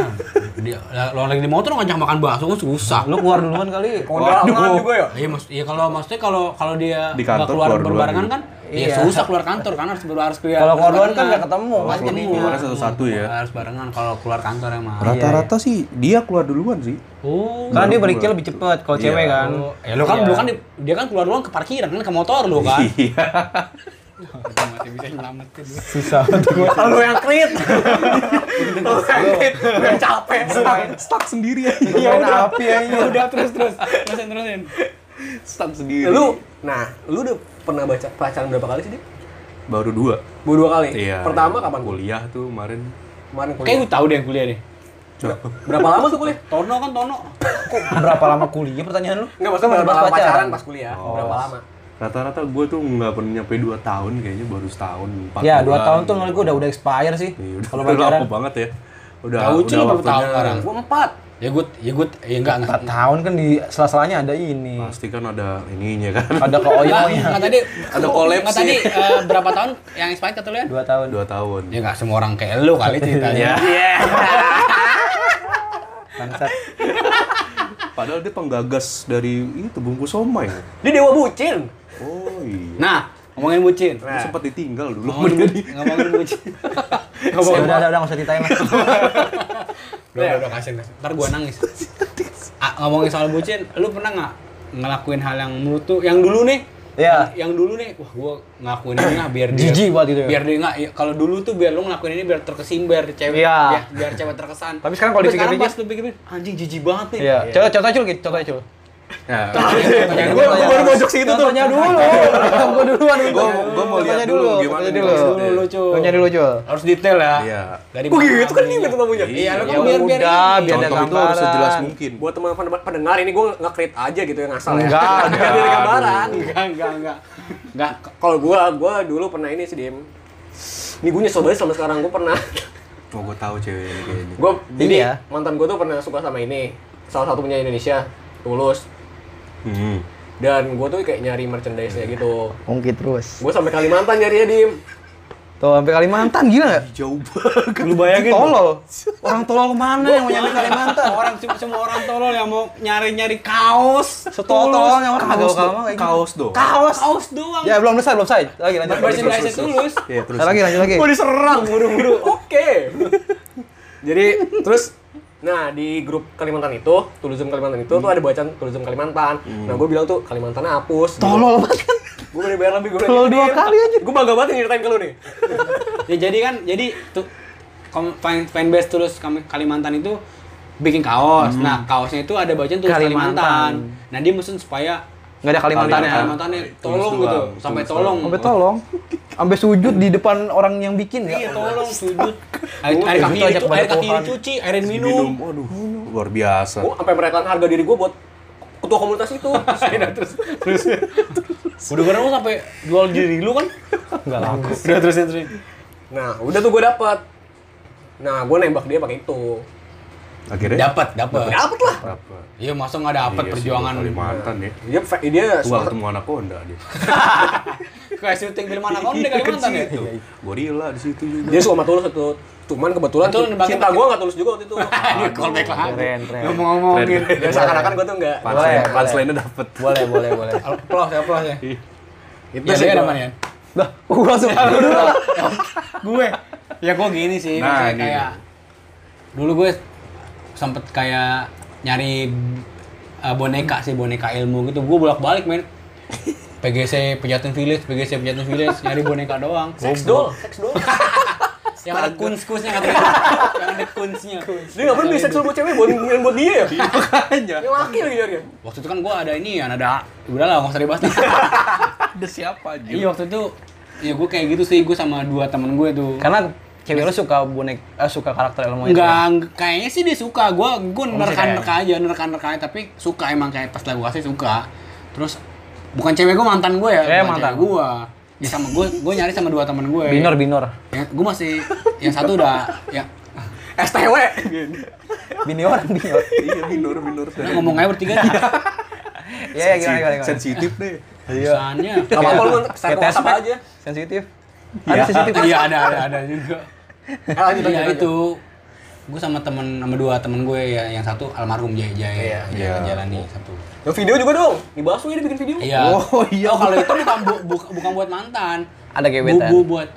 C: Di, lah, lo lagi di motor ngajak makan bakso kan susah.
B: Lu keluar duluan kali.
A: Kondangan juga ya?
C: Iya mas, iya kalau maksudnya kalau kalau dia
D: Di
C: nggak
D: kantor
C: keluar,
D: keluar duluan
C: berbarengan
D: gitu.
C: kan, iya.
B: Iya.
C: susah keluar kantor kan harus harus keluar.
B: Kalau keluar
C: harus
B: duluan kan
C: barengan.
B: nggak ketemu.
C: Pasti
D: Keluar-
C: ketemu.
D: keluarnya satu-satu ya.
C: Harus barengan kalau keluar kantor
B: iya.
C: emang.
D: rata-rata sih dia keluar duluan sih
C: Oh.
B: Karena dia berikir lebih cepet kalau
D: Iya.
B: cewek kan.
C: Ya lu kan
B: Iya.
C: lu kan di- dia kan keluar duluan ke parkiran kan ke motor lu kan.
D: iya
C: Masih bisa nyelamatin.
B: susah untuk gua.
A: Lu yang krit. Lu yang krit, lu yang capek.
D: stuck sendiri aja
B: Iya api ya ini.
C: Udah terus terus. Terusin terusin.
D: start sendiri.
A: Lu, nah, lu udah pernah baca pacaran berapa kali sih, Dik?
D: baru dua.
A: Baru dua kali?
D: Iya.
A: Pertama kapan?
D: Kuliah tuh kemarin.
A: Kemarin kuliah.
C: Kayak gue tahu deh kuliah deh.
A: Berapa lama tuh kuliah?
C: Tono kan Tono.
B: Kok berapa lama kuliah pertanyaan lu?
A: Enggak, maksudnya
B: Pas
A: berapa lama
B: pacaran.
A: pacaran pas kuliah? Berapa lama?
D: Rata-rata gue tuh nggak pernah nyampe dua tahun kayaknya baru setahun. Empat
B: Ya, dua
D: bulan.
B: tahun tuh menurut gua udah udah expire sih.
D: Iya, udah,
B: Kalau
D: udah
B: pacaran
D: lama banget ya. Udah.
C: Tahu sih
D: udah
C: berapa tahun
D: waktunya.
C: orang?
A: Gua empat.
C: Ya gue, ya gue, ya enggak enggak.
B: empat tahun kan di sela-selanya ada ini.
D: Pasti kan ada ininya kan.
B: Ada
C: Enggak,
B: keoyonya.
C: enggak tadi
D: Ada kolaps
C: Enggak tadi
D: sih.
C: eh, berapa tahun yang expired kata lu ya?
B: Dua tahun.
D: Dua tahun.
C: Ya enggak semua orang kayak lu kali ceritanya.
D: Ya.
A: Iya.
B: Bangsat.
D: Padahal dia penggagas dari itu bungkus somai.
A: Dia dewa bucin.
D: Oh iya.
C: Nah, ngomongin bucin.
D: Nah. Oh, iya. sempat ditinggal dulu.
C: Ngomongin bucin. Ngomongin bucin.
B: Udah, udah, udah, nggak usah ceritain lah.
C: Udah, udah, udah kasihan. kasihan. Ntar gua nangis. Ah, ngomongin soal bucin, lu pernah nggak ngelakuin hal yang menurut tuh yang dulu nih?
B: Iya.
C: Yang, yang dulu nih, wah gua ngakuin ini lah biar dia.
B: Jijik banget gitu ya.
C: Biar dia nggak. ya, kalau dulu tuh biar lu ngelakuin ini biar terkesin biar cewek.
B: Iya.
C: Ya, biar cewek terkesan.
B: Tapi sekarang kalau
C: sekarang
B: dipikir-pikir-
C: pas lu pikir anjing jijik banget nih.
B: Iya. Coba contoh cul, gitu, contoh cul.
D: Iya. Ya,
C: Pertanyaan
A: Gua
C: gua-
A: gua baru mojok situ tuh.
B: Contohnya dulu. Gua duluan.
D: Gua- gua mau lihat
B: Contohnya
D: dulu gimana
B: contohnya
D: nih
B: dulu.
D: maksudnya.
B: Dulu, Cul. Contohnya Iya. dulu cul.
C: Harus detail ya.
D: Iya.
C: Dari
A: Kok gitu kan
C: ini
A: dia minta tamunya?
D: Iya, lu
B: Ya udah,
C: ini.
B: biar ada
D: Contoh itu harus
B: gambaran.
D: sejelas mungkin.
A: Buat teman-teman pendengar ini gue nge-create aja gitu yang asal ya.
B: Enggak,
A: Biar dia ada gambaran.
C: Enggak, enggak, enggak. Enggak.
A: Kalau gue, gue dulu pernah ini sih, Dim. Ini gue nyesel banget sama sekarang, gue pernah
D: Oh, gue tahu cewek ini kayaknya.
A: gue
B: Ini
A: jadi
B: ya?
A: mantan gue tuh pernah suka sama ini salah satu punya Indonesia tulus
D: Hmm.
A: dan gue tuh kayak nyari merchandise nya gitu
B: Ungkit terus.
A: gue sampai Kalimantan nyarinya dim
B: Tuh sampai Kalimantan gila nggak?
D: Jauh banget.
B: Lu bayangin tolol. Orang tolol kemana yang mau nyampe Kalimantan?
C: Orang semua orang tolol yang mau nyari-nyari kaos.
B: Setolol yang orang kagak
D: Kaos
B: bakal
D: do-
B: mau kayak gitu.
D: kaos do.
C: Kaos. Kaos doang.
B: Ya belum selesai, belum selesai. Lagi lanjut.
C: Baru
B: Lanjut.
C: merchandise tulus.
D: Iya, terus.
B: Lagi lanjut lagi.
A: gue diserang buru-buru oke jadi terus nah di grup Kalimantan itu tulusum Kalimantan itu
B: Hmm.
A: tuh ada bacaan tulusum Kalimantan nah gue bilang tuh Kalimantan hapus
B: Tolol banget kan?
A: gue udah bayar lebih gue
B: Tolol dua kali aja.
A: gue bangga banget nyeritain ke lu nih
C: Ya jadi kan, jadi tuh kom- fan fanbase tulus Kam- Kalimantan itu bikin kaos. Nah, kaosnya itu ada bacaan tulus
B: Kalimantan.
C: Kalimantan. Nah, dia mesen supaya ya,
B: Nggak ada Kalimantannya.
C: Kalimantannya tolong
D: Tulus
C: gitu,
D: doang,
C: sampai
D: tulus
C: tolong.
B: ya? Sampai tolong. Sampai sujud di depan orang yang bikin ya.
C: Iya, tolong sujud. Air, air kaki
B: Itu ajak
C: dicu- air
B: kepada
C: kaki
B: Tuhan.
C: dicuci, air minum.
D: Minum. Waduh, luar biasa.
A: gue sampai merelakan harga diri gue buat ketua komunitas itu terus
C: Udah karena lu sampai jual diri lu kan?
B: Enggak laku.
C: Udah terusin terusin.
A: Nah, udah tuh gue dapet. Nah, gue nembak dia pakai itu.
D: Akhirnya
C: Dapat, dapat.
A: Dapet lah.
D: apa?
C: Iya, masa nggak dapat
D: Iya sih,
C: perjuangan
D: Kalimantan ya.
A: Dia, dia
D: Gua
A: sempat-
D: ketemu anak konda dia.
C: kayak syuting film anak kamu di
D: Iya,
C: Kalimantan ya?
D: Itu. Gorila di situ juga.
A: dia suka sama tulus itu. Cuman kebetulan
C: Betul,
A: cinta
C: nembaknya
A: cinta
C: pakai-
A: gue gak tulus juga waktu itu.
C: Ini callback lah.
B: Keren, keren.
C: Ngomong-ngomongin.
A: Ya seakan-akan gue tuh enggak.
B: Boleh,
D: Punchline,
B: boleh.
D: punchline-nya dapet.
B: Boleh, boleh, boleh.
C: Aplaus ya, aplaus ya.
A: Itu
C: Ya, lu
A: sih
C: ada
A: gua.
C: mana ya?
B: Dah, gua langsung dulu lah.
C: Gue. Ya gue gini sih,
D: Nah,
C: maksudnya
D: ini
C: kayak dulu gue sempet kayak nyari eh, boneka sih, boneka ilmu gitu. Gue bolak-balik, men. PGC Pejaten Village, PGC Pejaten Village, nyari boneka doang.
A: Sex doll, sex doll.
C: Yang ada kuns-kunsnya katanya. Yang ada kunsnya.
A: Dia nggak pernah beli seks doll buat cewek buat yang buat dia ya.
B: Iya.
D: Makanya.
A: Yang laki lagi nyarinya.
C: Waktu itu kan gue ada ini ya, ada udahlah nggak usah dibahas.
D: Ada siapa aja?
C: Iya waktu itu ya gue kayak gitu sih gue sama dua temen gue tuh.
B: Karena cewek lu suka bonek eh, suka karakter Elmo itu.
C: Enggak, enggak, kayaknya sih dia suka. Gua gua
B: Kamu suka ya?
C: nerka-nerka aja, nerka-nerka aja tapi suka emang kayak pas lagu kasih suka. Terus bukan cewek gua mantan gue ya,
B: Eh,
C: bukan
B: mantan.
C: cewek gua. Ya sama gue, gue nyari sama dua temen gue.
B: ya. Binor, binor.
C: Ya, gue masih yang satu udah ya
A: STW.
B: Gitu. Bini orang, binor.
D: Iya, minor minor.
C: udah ngomong aja bertiga.
B: Ya, ya, gimana, gimana, gimana.
D: Sensitif deh.
C: Perusahaannya.
A: Gak Iya. apa-apa lu saya
B: Kayak
A: ke WhatsApp
B: tespek.
A: aja.
B: Sensitif.
C: Iya,
B: Ada sensitif.
C: Iya, ada ada ada juga.
A: Eh lanjut
C: Iya
A: lanjut.
C: itu. Gue sama temen sama dua temen gue ya, yang satu almarhum Jaya Jaya,
D: Iya.
C: Jaya Jalani satu.
A: Yang video juga dong. Dibahas lu ya dia bikin video.
C: Iya.
B: Oh, iya.
C: Oh, kalau itu bukan bu- bu- bukan buat mantan.
B: Ada gebetan.
C: Bu, bu- buat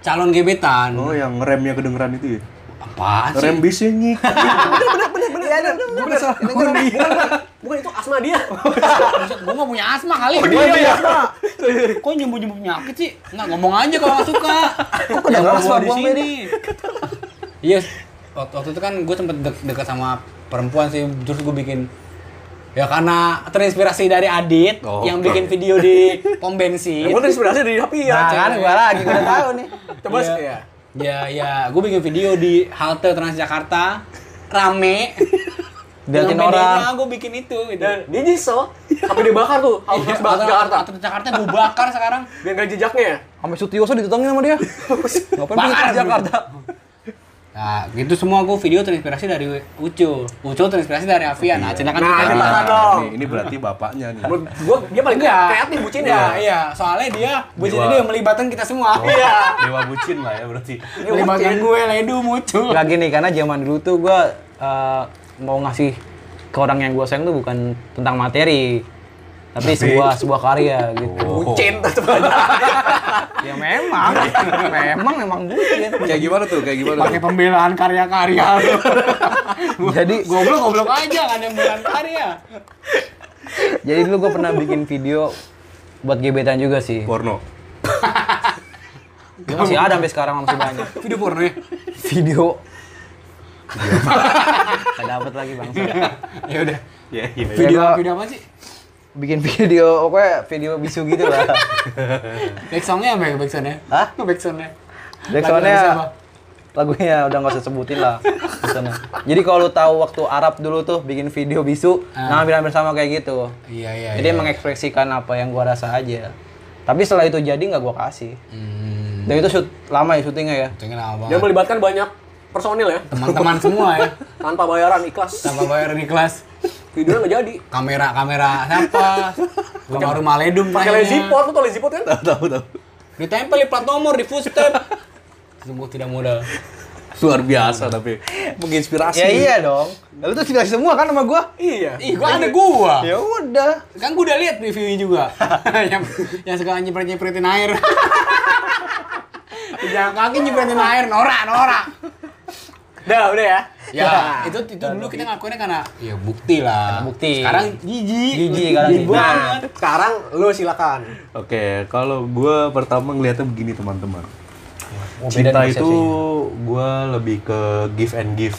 C: calon gebetan.
D: Oh, yang remnya kedengeran itu ya?
C: Apaan sih?
D: Rem bisnya ngik.
A: Bener bener bener. Iya, Bener Bukan-
B: Iya.
A: bukan- Bukan itu asma dia.
C: gue gak punya asma kali. Gua
A: dia
C: punya asma. Kok nyembuh-nyembuh penyakit sih? Nggak ngomong aja kalau nggak suka. Kok
B: kedengeran asma
C: di
B: gua,
C: sini? Iya. Waktu, waktu itu kan gue sempet dek- dekat sama perempuan sih. Terus gue bikin Ya karena terinspirasi dari Adit
D: Oh,
C: yang bikin
D: oke.
C: video di pom bensin.
A: Gue terinspirasi dari Happy ya.
B: nah kan gua lagi gua udah tahu nih
A: Coba
C: Iya.
A: sih, ya.
C: Ya ya, gue bikin video di halte Transjakarta rame.
B: Diliatin
C: Dengan
B: orang.
C: bedanya gue bikin itu gitu. Iya,
A: Dan dia nyesel, sampai dibakar tuh,
B: Iya.
A: harus bakar Jakarta.
C: Halte Transjakarta gue bakar sekarang.
A: Biar nggak jejaknya.
B: sampai Sutioso ditutangin sama dia ngapain pergi
C: Bakar
B: ke Jakarta
C: Nah, gitu semua gue video terinspirasi dari Ucul. Ucul terinspirasi dari Avian. Nah, ceritakan
A: Nah,
C: cerita.
A: ini Pak. dong.
D: Iya, ini, ini berarti bapaknya nih.
A: Menurut gue, dia paling
C: Enggak.
A: kreatif bucin
C: Iya,
A: ya.
C: iya. Soalnya dia bucin
D: Dewa.
C: dia yang melibatkan kita semua.
A: Iya.
D: Dewa bucin lah ya berarti.
A: Ini
C: Oh. melibatkan
A: bucin.
C: gue, Ledu, Mucul.
B: Gak gini, karena zaman dulu tuh gue mau ngasih ke orang yang gue sayang tuh bukan tentang materi, tapi sebuah sebuah karya gitu.
D: Oh.
A: Iya, Bucin tetep aja.
B: Ya memang, memang memang bucin.
D: Kayak gimana tuh? Kayak gimana?
C: Pakai
D: tuh?
C: pembelaan karya-karya.
B: Jadi
C: goblok goblok aja kan yang pembelaan karya.
B: jadi dulu gue pernah bikin video buat gebetan juga sih.
D: Porno.
B: Ya, masih ada sampai sekarang masih banyak.
C: Video porno ya.
B: Video. Gak dapet lagi bang.
C: ya udah.
D: Ya, iya.
C: Video
B: gua-
C: video apa sih?
B: Bikin video, pokoknya video bisu gitu lah.
C: Backsoundnya apa ya backsoundnya?
B: Hah?
C: Backsoundnya. Lagu dari siapa?
B: Backsoundnya lagunya udah nggak usah sebutin lah di sana. Jadi kalau lu tahu waktu Arab dulu tuh bikin video bisu, nah hampir-hampir sama kayak gitu.
C: Iya iya.
B: Jadi mengekspresikan apa yang gua rasa aja. Tapi setelah itu jadi nggak gua kasih.
C: Hmm.
B: Dan itu shoot lama ya syutingnya ya.
C: Itu kenapa?
A: Dia melibatkan banyak personil ya.
C: Teman-teman semua ya.
A: Tanpa bayaran, ikhlas.
C: Tanpa bayar di kelas.
A: Videonya nggak jadi.
C: Kamera kamera siapa? Rumah rumah ledum.
A: Pakai
B: Iya.
C: mainnya.
A: lazipot, lu tau lazipot kan?
D: Tahu tahu.
C: Ditempel di plat nomor di footstep. Sungguh tidak mudah.
D: Luar biasa tapi menginspirasi.
B: Ya iya dong. Lalu tuh inspirasi semua kan sama gua.
A: Iya.
C: Ih, gua ada gua.
B: Ya udah.
C: Kan gua udah lihat reviewnya juga. yang yang suka nyepret-nyepretin air. Di Jalan kaki nyepretin air, norak, norak.
A: Udah, udah ya.
C: Ya, itu itu dulu kita ngakuinnya karena ya bukti lah.
B: Karena bukti.
C: Sekarang jijik.
B: Jijik sekarang sih.
A: Nah, sekarang lu silakan.
D: Oke, kalau gue pertama ngeliatnya begini teman-teman. Cinta itu gue lebih ke give and give.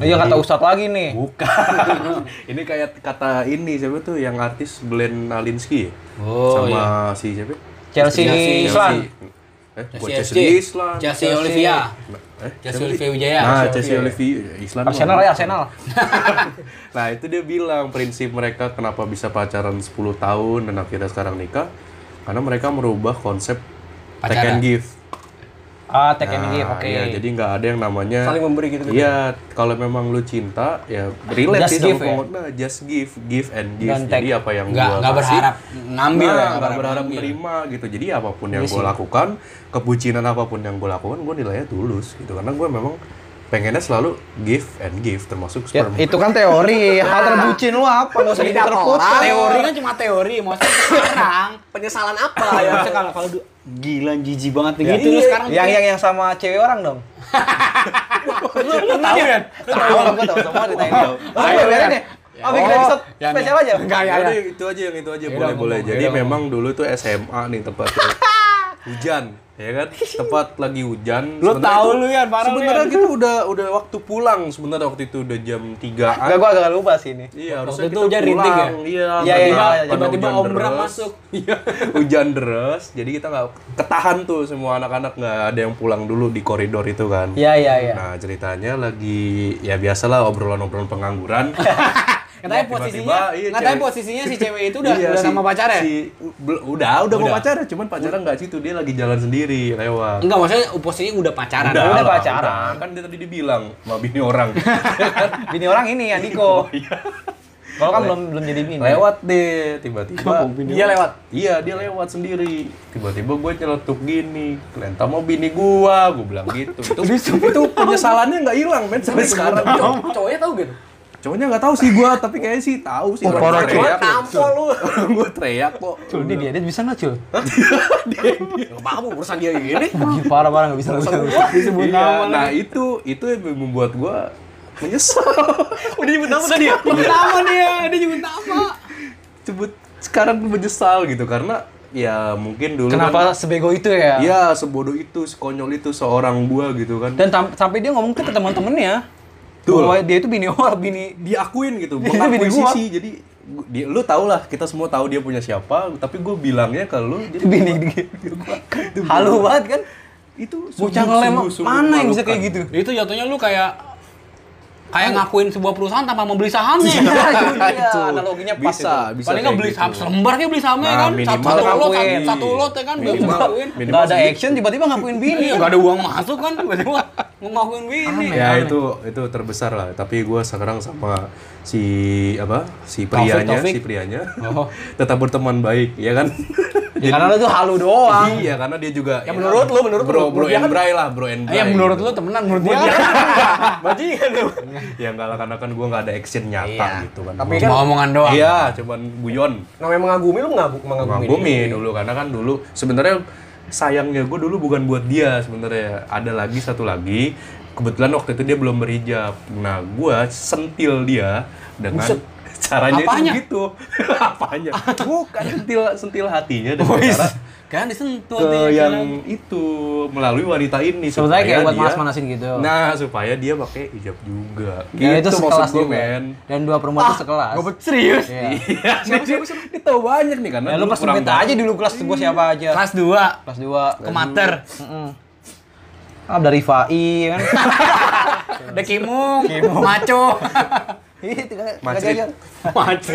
B: Iya kata Ustadz lagi nih.
D: Bukan. ini kayak kata ini siapa tuh yang artis Belen Alinsky ya?
C: Oh,
D: sama si siapa?
B: Chelsea,
C: Chelsea.
B: Islan.
D: Eh, buat
C: Chelsea
D: Chelsea
C: FC.
D: Islan.
C: Chelsea Olivia.
D: Eh,
C: Chelsea
D: siapa sih?
C: Olivia Wijaya.
D: Nah,
C: Chelsea
D: Chelsea
C: Olivia.
D: Olivia Islan.
B: Arsenal ya Arsenal.
D: nah itu dia bilang prinsip mereka kenapa bisa pacaran 10 tahun dan akhirnya sekarang nikah karena mereka merubah konsep take
C: Pacaran.
D: and give.
B: Ah, take and
D: Nah,
B: give, oke.
D: iya, jadi nggak ada yang namanya
A: Saling memberi gitu.
D: Iya, kalau memang lu cinta ya
B: Just
D: relate sih sama
B: give ya?
D: pengguna. just give, give and give.
B: Don't
D: jadi apa yang
C: Enggak
D: gua
C: enggak
D: kasih,
C: berharap ngambil
D: nah,
C: ya, Iya
D: nggak berharap menerima gitu. Jadi apapun yang gue lakukan, kebucinan apapun yang gue lakukan, gue nilainya tulus gitu. Karena gue memang pengennya selalu give and give, termasuk
B: Ya,
D: sperm.
B: itu kan teori. Hal terbucin lu apa? Gak usah
A: Tidak
B: diterputar.
A: orang.
C: Teori kan cuma teori, maksudnya sekarang.
A: Penyesalan apa ya?
B: Harusnya kalau kalau du- gila jijik banget nih
C: Gitu lu sekarang
B: Iya. Yang yang yang sama cewek orang dong.
C: lu lu tahu ya?
B: Kan Tahu lah gua tahu semua ditanya.
D: Tahu.
B: Oh, iya biarin deh. Oh, bikin episode
C: yang-
B: spesial aja.
C: Enggak ya.
D: Ya
C: ya.
D: udah, itu aja yang itu aja boleh boleh.
C: ngomong,
D: Jadi
C: yaudah,
D: memang dulu tuh SMA nih tempatnya hujan, ya kan? Tempat lagi hujan.
C: Lu
D: Sebenarnya
C: tahu
D: itu-
C: lu ya, parah lu,
D: Sebenarnya
C: Yan.
D: kita udah udah waktu pulang sebenarnya waktu itu udah jam 3-an.
B: Enggak gua agak lupa sih ini.
C: Waktu
D: Iya, harusnya
C: itu
D: kita
C: hujan
D: pulang.
C: rintik ya?
D: Iya,
B: Iya, iya,
D: karena-
B: iya,
D: karena
C: Tiba-tiba
D: hujan
C: Om Bram
D: deres.
C: masuk.
D: Iya, hujan deres. Jadi kita nggak ketahan tuh semua anak-anak nggak ada yang pulang dulu di koridor itu kan.
B: Iya, iya, iya.
D: Nah, ceritanya lagi ya biasalah obrolan-obrolan pengangguran.
C: Katanya
D: Tiba-tiba,
C: posisinya,
D: iya,
C: katanya
D: cewek-
C: posisinya si cewek itu udah
D: Iya,
C: udah
D: si-
C: sama pacarnya.
D: si- bel- udah, udah mau
C: Udah.
D: pacaran, cuman pacaran nggak situ dia lagi jalan sendiri lewat.
C: Enggak, maksudnya posisinya udah pacaran.
D: lah,
B: udah pacaran.
D: udah. Kan dia tadi dibilang, sama bini orang.
B: Bini orang ini Andiko.
D: Iya.
B: Kalau kan belum belum jadi bini.
D: lewat deh tiba-tiba
A: Dia lewat.
D: iya dia lewat sendiri tiba-tiba gue nyeletuk gini kelentang mau bini gua gue bilang gitu itu, itu penyesalannya nggak hilang men sampai sekarang
A: Cowok- Cowoknya tahu gitu.
D: cowoknya nggak tahu sih gua tapi kayaknya sih tahu sih
A: Cuma
D: Orang teriak
A: tampol lu.
D: gue teriak kok
B: Cul, ini dia, dia bisa nggak cul?
A: Gak paham urusan dia ini.
B: Gila, parah parah nggak bisa nggak bisa. nggak bisa.
D: Iya, nah itu itu yang membuat gua menyesal Iya,
A: Udah nyebut nama tadi ya?
C: Nyebut nama dia, Iya, dia nyebut nama.
D: sebut sekarang gua menyesal gitu karena ya mungkin dulu kan,
B: Kenapa sebego itu ya?
D: ya sebodoh itu sekonyol itu seorang gua gitu kan
B: Dan tam- sampai dia ngomong ke teman-temannya
D: Betul.
B: bahwa dia itu bini orang, bini
D: diakuin gitu
B: Itu
D: mengakui
B: bini gua.
D: sisi jadi Gu- dia, lu tau lah kita semua tahu dia punya siapa tapi gue bilangnya ke lu dia
B: Bini Halu banget kan?
D: itu
B: Bocah
D: sungguh-
B: ngelem,
D: sungguh- sungguh
B: mana yang bisa
D: memalukan.
B: kayak gitu?
C: Itu jatuhnya lu kayak kayak ngakuin sebuah perusahaan tanpa membeli sahamnya.
B: Iya,
D: Itu.
B: analoginya pas
D: bisa,
B: itu.
D: bisa
C: Paling nggak
D: kayak
C: beli
D: gitu.
C: saham selembar kayak beli sahamnya
D: Nah,
C: kan. Satu,
D: minimal
C: satu lot, satu,
B: ngakuin.
C: satu lot ya kan. Gak
D: Minimal.
C: ngakuin.
D: Minimal
B: Gak ada
D: segitu.
B: action tiba-tiba ngakuin bini.
C: Iya, gak ada uang masuk kan. Tiba-tiba ngakuin bini.
D: ya itu itu terbesar lah tapi gue sekarang sama si apa si
C: Taufik,
D: prianya
C: Taufik.
D: si prianya tetap berteman baik ya kan
B: Ya, karena lu tuh halu doang.
D: iya karena dia juga ya,
A: menurut lu, menurut
D: bro
A: lu,
D: bro
A: dia kan-
D: and Bray lah bro and Bray
C: Ya menurut lu temenan menurut dia.
A: Bajingan lu.
D: ya enggak lah karena kan gue nggak ada action nyata gitu kan
A: Tapi
D: Gua-
A: kan-
C: Cuma omongan doang.
D: iya cuman guyon
A: Namanya mengagumi lu mengagu- mengagumi.
D: ngagumi dulu karena kan dulu sebenarnya sayangnya gue dulu bukan buat dia sebenarnya ada lagi satu lagi kebetulan waktu itu dia belum berhijab nah gue sentil dia dengan caranya
C: Apanya?
D: itu gitu apanya bukan sentil sentil hatinya dengan
A: Oh,
D: cara
C: Kan disentuh
D: ke
C: nih,
D: yang itu melalui wanita ini
B: Sebenarnya kayak
D: supaya
B: buat
D: dia-
B: manas-manasin gitu.
D: nah supaya dia pakai hijab juga gitu
B: Ya, itu
D: maksud
B: sekelas
D: gue
B: juga.
D: men
B: Dan dua perempuan itu sekelas.
A: Gue serius.
B: Iya.
D: dia tahu banyak nih karena
B: Ya lu
D: dulu kurang
B: persempit aja dulu kelas gua siapa aja.
C: Kelas 2
B: Kelas 2.
C: ke mater.
B: Ah, dari Fai ya kan.
C: Ada kimung, maco.
B: Ih, tinggal- tinggal
D: Macrit.
B: jajan.
C: maco.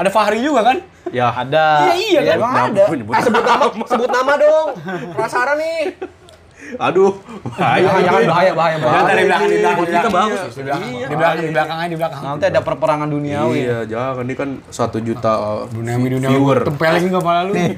C: Ada Fahri juga kan?
D: ya
B: Ada.
C: Iya, iya kan?
B: Emang
D: Nah,
B: Ah, ada.
D: gua nyebut-
A: Ah, sebut nama, sebut nama dong. Penasaran nih.
D: Aduh, bahaya.
B: Jangan, jangan, bahaya, bahaya, bahaya.
C: Dari belakang, dari belakang,
A: Kita bagus.
C: Di belakang, di belakang, di belakang aja, di belakang.
B: Nanti ada perperangan duniawi.
D: Iya, jangan ini kan satu juta uh,
C: Duniawi, duniawi.
D: viewer,
C: Tempelin juga malah lu.
B: Iya.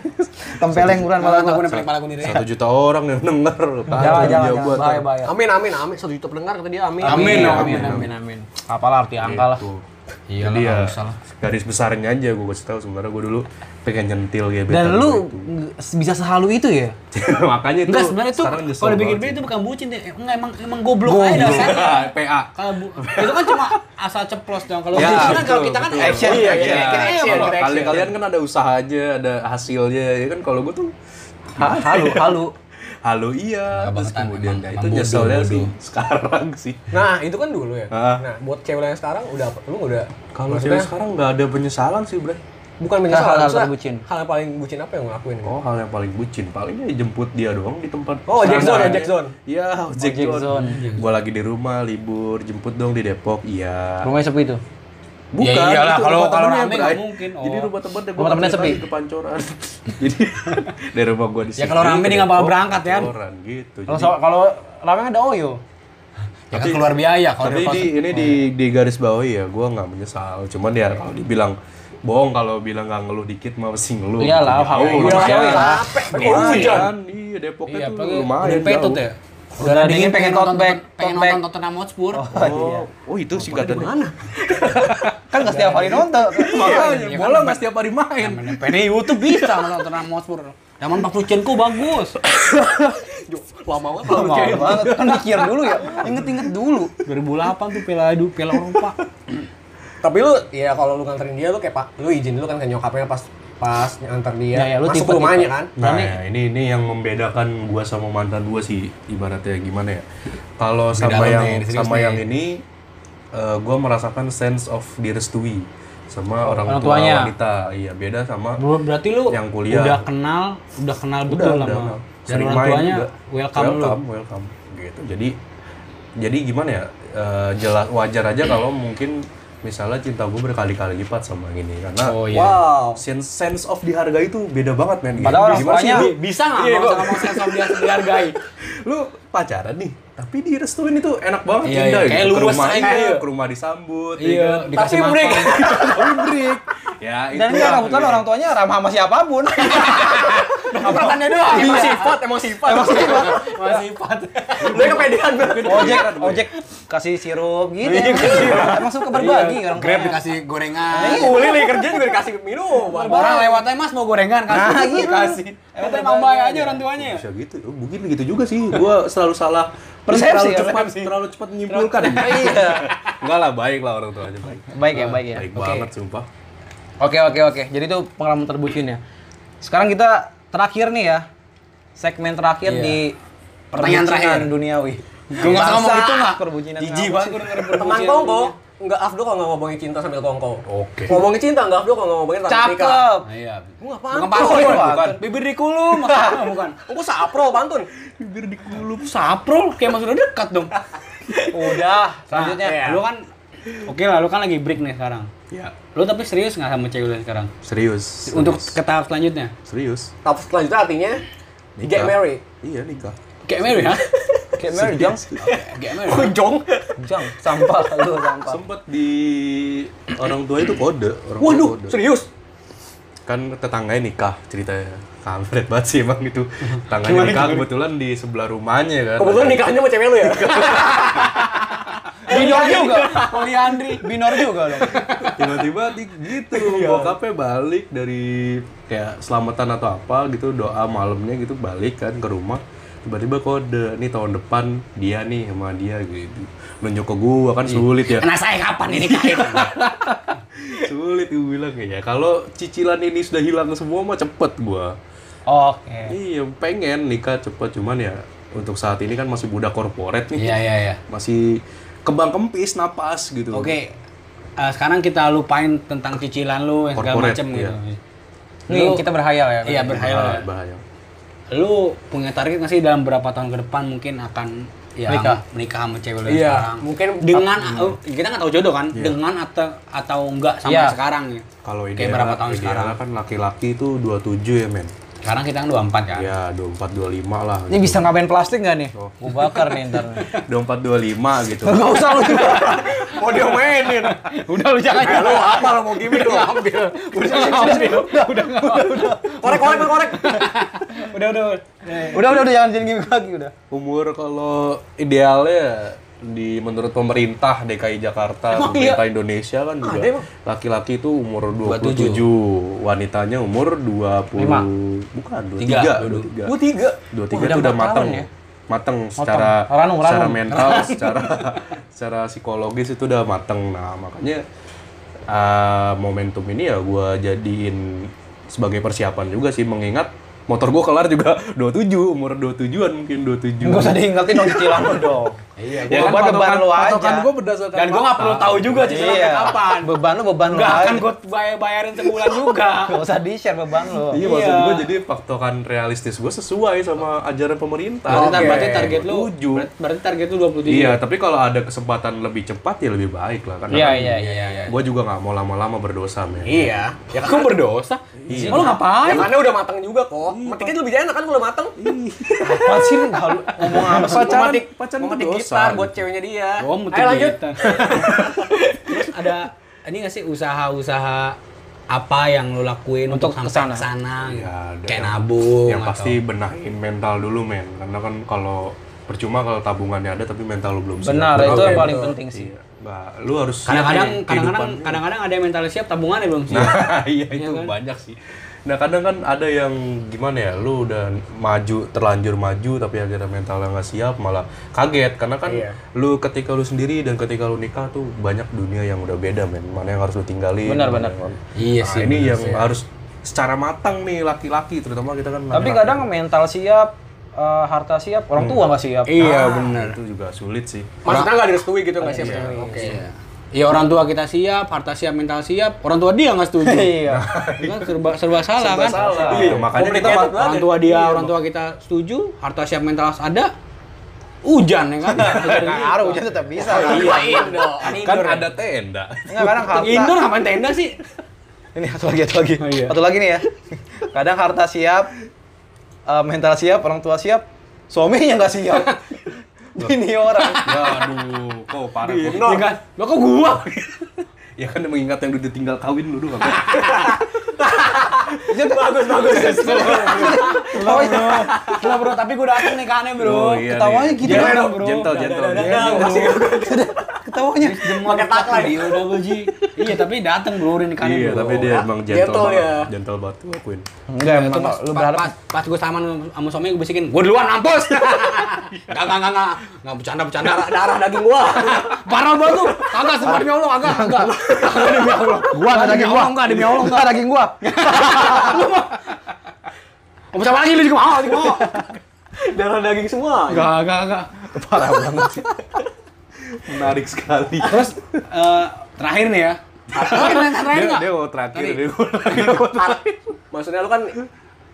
B: Tempeleng kurang
C: Malah
B: malah
C: aku
B: gua.
C: nempelin kepala aku sendiri.
D: satu juta orang yang denger.
B: Jangan,
D: Kacau
B: jangan,
D: dia
B: jangan.
D: buat.
B: Bahaya, bahaya.
A: Iya. Amin amin amin. Satu juta pendengar kata dia amin.
C: Amin,
D: Iya,
C: amin,
D: amin,
C: amin, amin.
B: Apalah arti angka lah.
D: Tuh.
C: Iya
D: Jadi ya,
C: lah, salah.
D: garis besarnya aja gue kasih tahu sebenarnya gue dulu pengen nyentil ya, gebetan
B: Dan
D: gua
B: lu nge- bisa sehalu itu ya?
D: itu. makanya itu
C: Enggak sebenarnya itu
D: sekarang nyesel
C: kalau dipikir
D: banget. Iya,
C: pikir itu bukan bucin deh. Enggak emang emang goblok aja dasarnya.
D: PA.
C: Kalau bu- itu kan cuma asal ceplos dong. Kalau
D: Ya,
C: bucin kan
D: betul,
C: kalau kita kan
D: betul.
C: action,
A: Iya,
C: action,
A: iya,
C: action,
A: action,
C: action.
D: Kali kalian kan ada usahanya, ada hasilnya. Ya kan kalau gue tuh
B: Halu, halu.
D: halo iya,
C: Nggak
D: terus
C: bangetan,
D: kemudian
C: emang-
D: ya,
C: emang
D: itu
C: bodoh,
D: nyeselnya sih
C: bodoh.
D: sekarang sih.
A: Nah, itu kan dulu ya.
D: Ah.
A: Nah, buat cewek yang sekarang udah apa? Lu udah
D: Kalau
A: maksudnya
D: cewek sekarang nggak ada penyesalan sih, Bre.
A: bukan menyesal
B: Hal-hal
A: maksudnya
B: terbucin.
A: Hal yang paling bucin apa yang ngelakuin?
D: Oh, hal yang paling bucin palingnya ya jemput dia doang di tempat.
A: Oh, ojek
D: sana.
A: zone, ojek zone.
D: Iya, ojek
B: Ojek
D: zone.
B: zone.
D: Gua lagi di rumah libur, jemput dong di Depok. Iya.
B: Rumahnya sepi itu.
D: Bukan.
C: Ya iyalah,
D: itu
C: kalau-
D: rumah
C: kalau
D: temennya,
C: rame nggak
D: Bray.
C: mungkin, oh.
D: Jadi rumah temen
B: Rumah temennya sepi.
D: ke pancoran. Jadi dari rumah gua di
C: Ya, kalau rame dia nggak bakal berangkat, ya.
D: Pancoran gitu.
B: Kalau
D: Jadi-
B: so- kalau ramai ada Oyo.
C: Ya kan keluar biaya kalau Oh, iya.
D: tapi
C: dia
D: di, ini di, di garis bawah ya gue nggak menyesal cuman ya kalau dibilang bohong kalau bilang nggak ngeluh dikit mah pasti ngeluh
C: Iya
B: Iyalah,
D: Gitu. Jauh,
B: iyalah,
D: lumayan.
B: iyalah.
A: Capek, kalau hujan.
D: Lumayan, iya Depoknya
C: Iya,
D: tuh
C: apalagi
D: lumayan
C: udah petut ya.
B: Udah dingin pengen
C: nonton
B: comeback,
C: pengen
B: comeback.
C: nonton Tottenham Hotspur. Iya.
D: Oh, oh itu singkatannya. Mana?
B: Kan nggak setiap hari nonton.
D: Makanya bola nggak setiap hari main.
C: Namanya Pengen di YouTube bisa nonton Tottenham Hotspur. Zaman Pak Luchenko bagus.
A: Lama banget.
B: Lama
C: ya.
B: banget. Kan mikir dulu ya. Inget-inget dulu.
C: 2008 tuh Piala Edu, Piala Eropa.
A: Tapi lu ya kalau lu nganterin dia lu kayak Pak, lu izin dulu kan ke nyokapnya pas pas nganter dia.
B: Ya, ya, lu
A: masuk
B: tipe-tipe.
A: ke rumahnya kan.
D: Nah, ini ini yang membedakan gua sama mantan gua sih ibaratnya gimana ya. Kalau sama
C: dalam
D: yang
C: nih, serius
D: sama
C: nih.
D: yang ini eh, gua merasakan sense of direstui sama
B: orang
D: orang, tua
B: tuanya.
D: wanita. Iya, beda sama
C: Bro, berarti lu
D: Yang kuliah.
C: udah kenal, udah kenal betul
D: udah,
C: lama.
D: udah, udah.
C: Dan
D: Sering
C: orang
D: main
C: tuanya
D: juga.
C: welcome,
D: welcome,
C: lu.
D: welcome. gitu. Jadi jadi gimana ya? eh, jelas wajar aja kalau mungkin misalnya cinta gue berkali-kali lipat sama yang ini karena
C: Oh iya.
A: Wow.
D: sense sense of dihargai itu beda banget men. Gitu.
B: Padahal orang
D: Gimana sih,
B: tuanya-
D: lu-
C: Bi- Bisa nggak
A: Iya,
C: nggak
A: gua-
C: usah ngomong sense of dia dihargai?
D: lu pacaran nih tapi direstuin itu enak banget
C: Iya,
D: indah
C: iya. Kayak
D: gitu. ke
C: luwes
D: rumah
C: aja.
D: iya, ke rumah disambut ya
C: Iya,
D: kan.
C: dikasih
A: Tapi
C: makan.
A: break.
D: break ya itu
B: Dan nggak kebetulan orang tuanya ramah sama siapapun.
C: Pertanyaannya doang.
A: Emang sifat, emang sifat. Emang sifat.
C: Masih sifat.
A: Lu kepedean banget.
B: Ojek, ojek kasih Iya. sirup gitu. Emang suka berbagi orang
C: Grab
B: tuanya.
C: dikasih gorengan.
A: Uli nih kerja juga dikasih minuman.
C: Orang lewat aja mas mau gorengan kasih.
B: Nah, gitu.
C: Kasih.
B: Emang
C: Kita Ah, iya. emang baik aja orang tuanya. ya?
D: bisa gitu Oh, mungkin begitu juga sih gua selalu salah
B: Persepsi,
D: terlalu
B: ya,
D: cepat
B: persepsi.
D: terlalu cepat menyimpulkan
B: Iya.
D: enggak lah baik lah orang tuanya baik
B: Baik ya, baik ya.
D: baik
B: Oke.
D: banget sumpah
B: Oke oke oke. Jadi itu pengalaman terbucin ya. Sekarang kita terakhir nih ya. Segmen terakhir
C: Iya.
B: di
C: Pertanyaan
B: perbucinan
C: terakhir.
B: duniawi.
C: Gue nggak usah ngomong
B: Bangsa,
C: itu nggak.
B: Perbucinan.
C: Jijik
B: apa
C: banget
B: sih?
C: gue Iya, denger Iya,
A: Teman
C: perbucinan.
A: kongko. nggak afdol kalau nggak ngomongin cinta sambil kongkow.
D: Oke.
A: Ngomongin cinta nggak afdol kalau nggak ngomongin tentang nikah.
B: Cakep.
C: Nah, iya.
A: Gua nggak
C: Bukan
A: pantun.
C: pantun,
B: Iya,
C: bukan.
B: pantun.
C: Bibir di kulum, Ah, bukan.
A: Aku sapro pantun.
C: Bibir di kulum, saprol, kayak maksudnya dekat dong.
B: Udah,
C: Nah,
B: selanjutnya.
A: iya.
C: lu kan, oke lah, lu kan lagi break nih sekarang.
D: Ya,
C: Lu tapi serius nggak sama cewek lu sekarang?
D: serius.
C: Untuk
D: serius.
C: ke tahap selanjutnya?
D: serius.
A: Tapi selanjutnya artinya get
D: Nikah.
A: married.
D: Iya, nikah.
C: Kayak Mary, ha?
B: Kayak Mary Jang,
C: Kayak Mary.
A: Kujong.
B: Jang, sampah lu sampah.
D: Sempet di orang tua itu kode, orang tua
A: Waduh,
D: kode.
A: serius.
D: kan tetangganya nikah ceritanya kampret banget sih emang itu tetangganya nikah kebetulan di sebelah rumahnya kan
A: Kebetulan nikahnya sama cewek lu ya.
B: Binor juga.
C: Poliandri.
B: Binor juga dong.
D: tiba-tiba di- gitu
C: Iya.
D: bokapnya balik dari kayak selamatan atau apa gitu doa malamnya gitu balik kan ke rumah tiba-tiba kode nih tahun depan dia nih sama dia gitu nunjuk ke gua kan sulit ya
C: Nah, saya kapan ini kayak?
D: sulit gua bilang ya kalau cicilan ini sudah hilang semua mah cepet gua
B: Oke.
D: iya pengen nikah cepet cuman ya untuk saat ini kan masih budak korporat nih
C: Iya, iya, iya.
D: masih kembang kempis napas gitu.
C: Oke. eh, sekarang kita lupain tentang cicilan lu yang segala
D: Corporate,
C: macem
D: iya.
C: gitu.
B: Nih kita berhayal ya.
C: Iya,
D: Bahaya,
C: berhayal.
D: bahaya.
C: Lu punya target nggak sih dalam berapa tahun ke depan mungkin akan ya
B: Menikah.
C: menikah sama cewek lu yang
A: Iya,
C: sekarang?
A: mungkin
C: dengan eh, kita nggak tahu jodoh kan?
D: Iya.
C: Dengan atau atau enggak sampai
B: Iya.
C: sekarang ya.
D: Kalau
C: Kayak
D: ideal,
C: berapa tahun
D: idealnya
C: sekarang?
D: kan laki-laki itu 27 ya, men.
C: Sekarang kita kan 24 kan.
D: Ya, 24 25 lah.
B: Ini bisa ngapain plastik nggak nih? Oh, Gua bakar nih ntar.
D: 24 25 gitu.
B: Gak usah lu juga.
A: Mau dia mainin.
C: Udah lu jangan
A: Lu apa lu mau gimmick lu?
C: Udah ngambil. Udah udah udah.
A: Korek korek korek, korek.
C: Udah udah.
D: Iya.
B: Udah udah udah jangan jangan gimmick lagi udah.
D: Umur kalau idealnya di menurut pemerintah DKI Jakarta, pemerintah Indonesia kan juga
A: Ada emang?
D: laki-laki itu umur 27, wanitanya umur 20 bukan 23, 23.
A: Gua tiga.
D: 23 itu udah mateng ya? mateng secara
B: Ranum, ranum.
D: secara mental, secara secara psikologis itu udah mateng. Nah, makanya uh, momentum ini ya gua jadiin sebagai persiapan juga sih mengingat motor gua kelar juga 27, umur 27-an mungkin 27.
B: Gak usah diingetin dong cicilan lu dong. Iya.
D: Ya kan
B: Beban beban
D: patokan-
B: lu aja.
D: patokan gua berdasarkan
C: Dan gua nggak perlu tahu juga cicilan
B: Iya.
C: kapan.
B: Beban lu beban lu
C: Enggak
B: aja.
C: akan gue bayarin sebulan juga.
B: Gak usah di share beban lu.
D: Iya, maksud gua jadi patokan realistis gua sesuai sama ajaran pemerintah.
A: Oke.
C: Berarti, Iya, berarti target lu
D: 27.
C: berarti- berarti target lu 27.
D: Iya, tapi kalau ada kesempatan lebih cepat ya lebih baik lah karena
B: Iya
D: kan
B: iya iya. iya.
D: gue juga nggak mau lama-lama berdosa men
A: Iya.
C: Ya kan gua berdosa.
D: Iya.
B: Oh,
C: Lu
A: Ya
C: ngapain?
A: karena udah matang juga kok. Metiknya lebih enak kan kalau matang.
B: Apa sih lu nggak lu- ngomong apa sih?
A: Mau
D: pacaran
A: metik,
D: pacaran
A: mau metik
D: berdosa. gitu.
A: gitar buat ceweknya dia.
B: Oh,
C: Gua mesti
A: Ayo lanjut.
C: diet. Terus ada ini nggak sih usaha-usaha apa yang lu lakuin untuk,
B: Untuk
C: sampai
B: kesana?
C: ke sana?
D: Iya, ada
C: Kayak
D: yang-
C: nabung
D: yang
C: atau-
D: pasti benahin mental dulu men karena kan kalau percuma kalau tabungannya ada tapi mental lu belum siap
B: Benar ya. itu
A: Oke,
B: yang paling
A: betul.
B: penting sih.
D: Iya. Mbak, lu harus siap
C: kadang-kadang
D: nih
C: kadang-kadang
D: kehidupan lu.
C: kadang-kadang ada yang mental siap tabungannya belum siap.
D: nah iya itu
C: Iya kan?
D: banyak sih nah kadang kan ada yang gimana ya lu udah maju terlanjur maju tapi akhirnya mentalnya nggak siap malah kaget karena kan
A: Iya.
D: lu ketika lu sendiri dan ketika lu nikah tuh banyak dunia yang udah beda men mana yang harus lu tinggalin
B: Benar, benar.
D: mana yang-
C: Iya
D: Nah,
C: sih,
D: ini
C: benar
D: yang
C: sih.
D: harus secara matang nih laki-laki terutama kita kan
B: Tapi
D: laki-laki.
B: kadang mental siap, eh, harta siap, orang tua nggak siap.
C: Iya
D: Ah,
C: benar.
D: itu juga sulit sih
A: Maksudnya nggak direstui gitu nggak siap. Oke.
C: Iya. Ya orang tua kita siap, harta siap, mental siap, orang tua dia nggak setuju.
B: Iya.
C: kan serba serba salah kan?
D: Iya, makanya kita Iya,
A: Complicated
D: mat-
A: banget.
C: Orang tua dia, orang tua kita setuju, harta siap, mental ada, hujan ya kan?
B: Ngaruh hujan tetap bisa.
A: Iya, Indo.
D: kan ada tenda
B: Enggak kadang harta.
C: Indoor ngapain tenda sih?
B: Ini satu lagi satu lagi.
C: Oh, iya.
B: Satu lagi nih ya. Kadang harta siap, eh, mental siap, orang tua siap, suaminya nggak siap. Ini orang.
D: ya aduh kok parah kok.
A: Indo.
C: Ya kan? Lo kok gua?
D: ya kan mengingat yang udah tinggal kawin lu dulu kan
A: Bagus bagus.
C: Lo bro. bro, tapi gua dateng nih aneh bro.
D: iya
B: ketawanya
D: nih.
B: gitu
D: Gentle,
B: dong, bro.
D: gentle gentle
A: Dadah, dadah, kasih.
B: Ketawanya.
A: Pakai takla
C: Iya, udah gua, Ji. Iya, tapi dateng bro, udah nikahin
D: iya
C: bro.
D: tapi dia emang gentle,
A: Gentle
D: banget
A: ya.
D: gentle banget gua akuin
B: Enggak, emang
C: Pas,
B: lu
C: pas-
B: berharap
C: pas, pas gue sama sama suami gue bisikin, gue duluan mampus. Enggak enggak enggak enggak. Enggak bercanda bercanda.
A: Darah darah daging gua.
C: Parah banget lu. Kagak sumpah demi Allah, kagak kagak. Kagak demi Allah.
B: gua ada
C: demi
B: daging gua.
C: Allah enggak demi Allah.
B: Enggak daging gua.
C: Kamu siapa lagi lu juga mau, juga mau.
A: Darah daging semua.
C: Enggak enggak enggak.
B: Parah banget.
D: Menarik sekali.
C: Terus eh, terakhir nih ya. Terakhir nggak? terakhir
D: dia,
C: nggak?
D: dia mau terakhir,
C: Tadi.
D: dia mau terakhir. mau terakhir.
A: maksudnya lu kan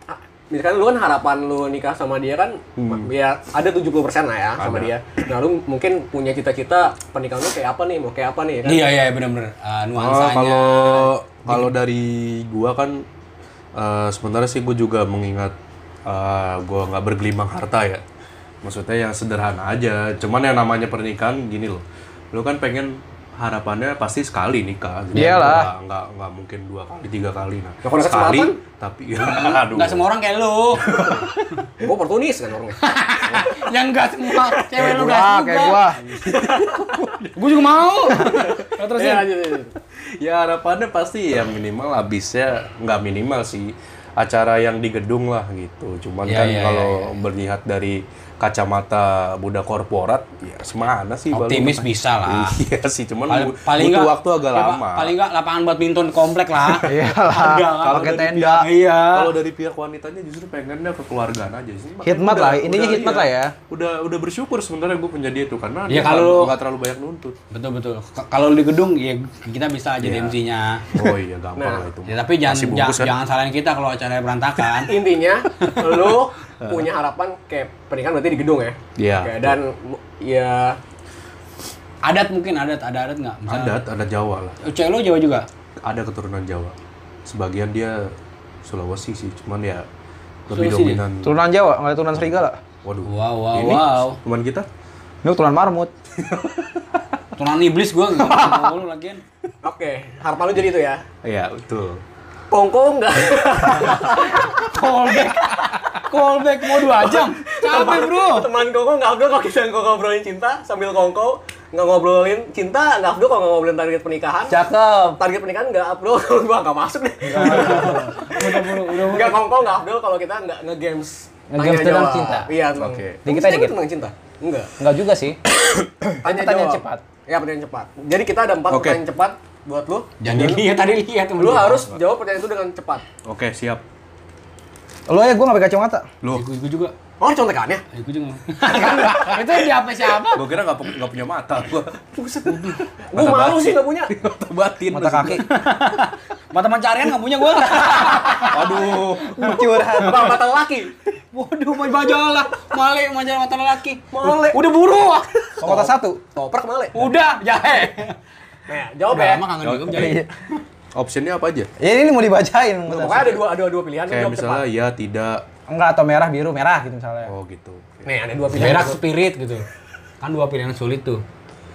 A: ah, misalkan lu kan harapan lu nikah sama dia kan
D: Hmm.
A: ya ada 70% lah ya sama
D: Ada.
A: dia nah lu mungkin punya cita-cita pernikahan lu kayak apa nih mau kayak apa nih kan
C: Iya iya benar-benar Eh,
D: Ah,
C: nuansanya.
D: kalau kalau dari gua kan eh, sebenarnya sih gua juga mengingat eh, gua nggak bergelimang harta ya. Maksudnya yang sederhana aja. Cuman yang namanya pernikahan gini loh. Lu kan pengen harapannya pasti sekali nikah. Jadi
B: Iyalah.
D: nggak- Nggak nggak mungkin dua kali, tiga kali nah.
A: Ya, kalau ada
D: sekali
A: kesempatan?
D: tapi aduh.
C: Nggak semua orang kayak lu.
A: gue oportunis kan orangnya
C: yang nggak semua cewek lu nggak
B: Wah,
C: juga.
B: kayak gua.
C: Gua juga mau. Nah, terusin.
A: Iya, iya, iya.
D: ya harapannya pasti ya minimal habisnya nggak minimal sih acara yang di gedung lah gitu cuman
C: Ya,
D: kan
C: ya,
D: kalau berlihat dari kacamata budak korporat ya semana sih Bang?
C: Optimis bisa lah.
D: iya sih cuman
C: Paling,
D: bu-
C: paling
D: butuh
C: nggak-
D: waktu agak
C: ya, Pak,
D: lama Iya
C: Paling nggak lapangan badminton komplek lah.
B: Iyalah.
C: Enggak lah,
B: Kalau ke
D: udah
B: tenda.
C: Iya.
D: kalau dari pihak wanitanya justru pengennya kekeluargaan aja sih Makanya
B: Hikmat
D: udah-
B: lah, intinya
D: udah-
B: hikmat
D: iya,
B: lah ya.
D: udah udah bersyukur sebenarnya gue punya dia tuh karena
C: Ya,
D: dia
C: kalau-
D: nggak terlalu banyak nuntut
C: Betul betul. K- Kalau di gedung ya kita bisa aja MC-nya.
D: oh iya gampang
A: Nah,
D: lah itu
C: Ya, tapi jangan
D: Masih
C: jangan,
D: bungkus kan?
C: jangan salahin kita kalau acaranya berantakan.
A: intinya lu punya harapan kayak pernikahan berarti di gedung ya
D: Iya,
A: Oke, dan mu- ya
C: adat mungkin adat ada adat nggak? Misalnya-
D: adat ada Jawa lah
C: Cewek lu Jawa juga?
D: ada keturunan Jawa. Sebagian dia Sulawesi sih, cuman ya lebih
C: Sulawesi
D: dominan.
B: Turunan Jawa, nggak ada turunan serigala.
D: Waduh.
C: Wow, wow,
D: Ini
C: wow.
D: teman kita
B: Ini turunan marmut.
C: Turunan iblis gua nggak mau lu lagian.
A: oke harapan lu jadi itu ya
D: Iya, betul.
A: kongkong enggak
C: Callback. Callback mau 2 jam. Capek, Bro.
A: teman kongkong nggak afdol kalau kita ngobrolin cinta sambil kongkong nggak ngobrolin cinta nggak afdol kalau nggak ngobrolin target pernikahan
B: Cakep.
A: target pernikahan nggak afdol kalau gua nggak masuk deh
C: Udah, bro, udah. bro.
A: nggak kongkong nggak afdol kalau kita nggak ngegames
B: Nge-games
A: Tanya
B: tentang
A: jawab.
B: cinta.
A: iya tentang
D: Oke.
B: Dikit aja,
A: Tanya
B: dikit.
A: tentang cinta enggak
B: Enggak juga sih. Pertanyaan
A: jawab.
B: cepat.
A: ya pertanyaan cepat jadi kita ada empat
D: Oke.
A: pertanyaan cepat buat lu
C: Jangan dilihat tadi lihat temen
A: lu harus jawab pertanyaan itu dengan cepat
D: Oke, siap.
B: Lo ya gua nggak pakai kacamata.
D: Lu,
C: Iya, Gua gua juga.
A: oh contekannya
C: Eh, gua juga. Itu di apa siapa?
D: gua kira nggak pu- nggak punya mata gua.
A: gua
D: Mata
A: malu
D: batin.
A: sih nggak punya
D: Mata batin.
B: Mata kaki.
C: Mata pencarian nggak punya gua.
D: Aduh.
B: Curhat.
A: Apa mata laki
C: Waduh, mau bajol lah. Malik mau mata lelaki.
A: Male.
C: Udah buru. ah.
B: Kota satu.
A: toprak male
C: Udah, jahe.
A: nah jawab
C: Udah
A: ya
C: lama kangen diem jadi.
B: Iya.
D: Optionnya apa aja?
B: Ya ini mau dibacain.
A: Nggak, pokoknya ada dua ada dua
C: Kan
A: pilihan lu
D: Kayak
A: jawab cepat
D: misalnya ya tidak.
B: Enggak atau merah biru merah gitu misalnya.
D: Oh, gitu. Oke.
A: nih ada dua pilihan
C: Berak spirit gitu. Kan dua pilihan sulit tuh.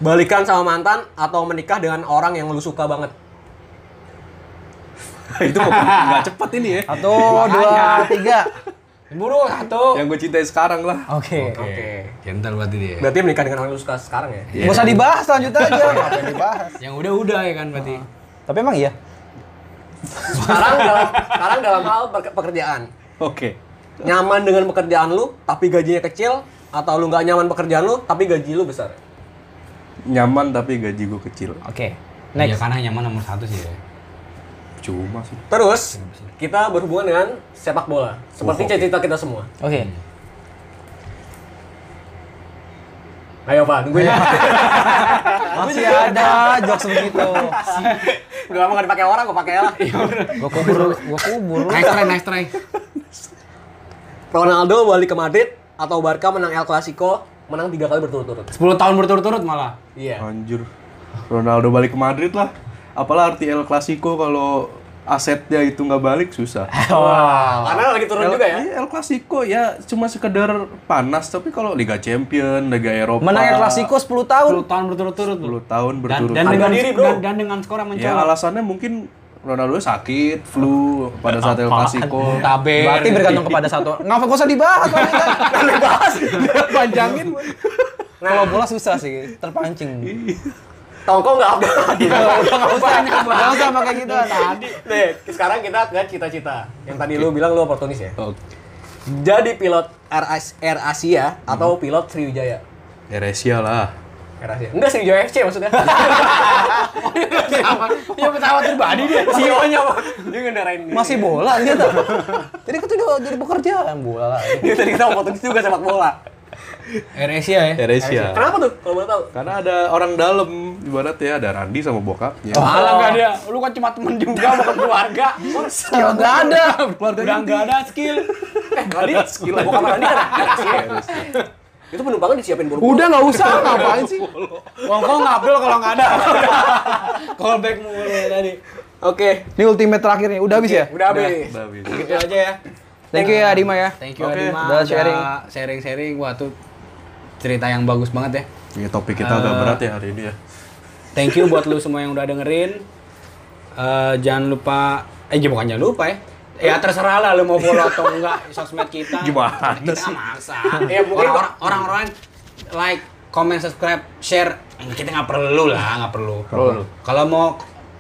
A: balikan sama mantan atau menikah dengan orang yang lu suka banget
D: Itu kok nggak cepat ini ya.
B: Satu, dua, tiga.
C: Buru satu.
D: Yang gue cintai sekarang lah.
B: Oke.
A: Oke.
C: Gentle berarti dia.
A: berarti menikah dengan orang yang lu suka sekarang ya
B: Nggak usah dibahas lanjut aja. Apa yang dibahas?
C: Yang udah-udah ya kan berarti.
B: Tapi emang iya.
A: sekarang dalam sekarang dalam hal pe- pekerjaan
D: Oke.
A: nyaman dengan pekerjaan lu tapi gajinya kecil atau lu nggak nyaman pekerjaan lu tapi gaji lu besar
D: Nyaman tapi gaji gue kecil.
B: Oke.
C: Next. Ya
B: Next.
C: karena nyaman nomor satu sih ya.
D: Cuma sih.
A: terus kita berhubungan dengan sepak bola seperti
D: Wow.
A: cita-cita kita semua
B: Oke.
C: Hmm.
A: ayo pak nungguin
B: Masih ada jokes begitu.
A: udah lama nggak dipakai orang gue pakai lah
D: Iya,
B: Gua kubur, lu, gua kubur. lu.
C: Nice try, nice try.
A: Ronaldo balik ke Madrid atau Barca menang El Clasico menang tiga kali berturut-turut
C: 10 tahun berturut-turut malah.
A: iya
D: Anjir. Ronaldo balik ke Madrid lah. Apalah arti El Clasico kalau asetnya itu nggak balik susah.
A: karena lagi turun
D: El,
A: juga ya
D: iya, El Clasico ya cuma sekedar panas tapi kalau Liga Champion, Liga Eropa.
B: Menang El Clasico 10 tahun.
C: 10 tahun berturut-turut.
D: 10 tahun
C: Dan,
D: berturut-turut.
C: dan dengan
A: diri, bro.
C: dan, dan dengan skor yang
D: ya
C: mencolok.
D: alasannya mungkin Ronaldo sakit, flu pada saat El Clasico.
C: Tabe.
B: Berarti bergantung kepada satu. Nggak nggak usah dibahas. Nggak dibahas. Nah. Panjangin. Kalau bola susah sih, terpancing.
A: tongkol nggak ada
B: Nggak usah, nggak usah pakai gitu.
A: nih sekarang kita ke cita-cita yang tadi lu bilang lu oportunis ya
D: Oke.
A: jadi pilot Air, As- Air Asia
C: Hmm.
A: atau pilot Sriwijaya
D: Eresia lah.
A: Air Asia enggak Sriwijaya FC maksudnya
C: Iya pesawat pribadi dia.
A: CEO nya apa E dia ngendarain ini.
B: Masih bola ternyata. Jadi itu udah jadi pekerjaan bola.
A: Iya, dia tadi kita oportunis juga sepak bola
C: Air Asia ya?
D: Air Asia.
A: Kenapa tuh kalau boleh tahu?
D: Karena ada orang dalam ibaratnya ada Randi sama bokapnya.
C: Malah nggak ada. Lu kan cuma temen juga bukan keluarga. Skill
B: Iya,
C: nggak ada. Keluarga udah nggak ada skill.
A: Eh, Randi, mau kamar Randi kan? Air Asia. Itu penumpangnya disiapin buru-buru.
C: Udah nggak usah ngapain sih? Wongkong ngabdol kalau nggak ada. Callback mulu ya, tadi.
A: Oke,
B: Ini ultimate terakhir nih. Udah habis ya?
A: udah habis.
D: Udah habis.
C: Gitu aja ya.
B: Thank you ya Adima ya.
C: Thank you
D: Oke,
C: Adima.
B: udah sharing.
C: sharing-sharing. Wah tuh cerita yang bagus banget ya.
D: Ini Iya, topik kita agak
C: Eh,
D: berat ya hari ini ya.
C: Thank you buat lu semua yang udah dengerin. Eh, jangan lupa, eh j- bukan jangan lupa ya. Ya terserah lah lu mau follow atau enggak sosmed kita.
D: Gimana
C: kita
D: sih?
C: nggak maksa.
A: Ya, pokoknya-
C: Orang-orang- Orang-orang like, comment, subscribe, share. Kita nggak perlu lah, nggak perlu.
D: Perlu.
C: Kalau mau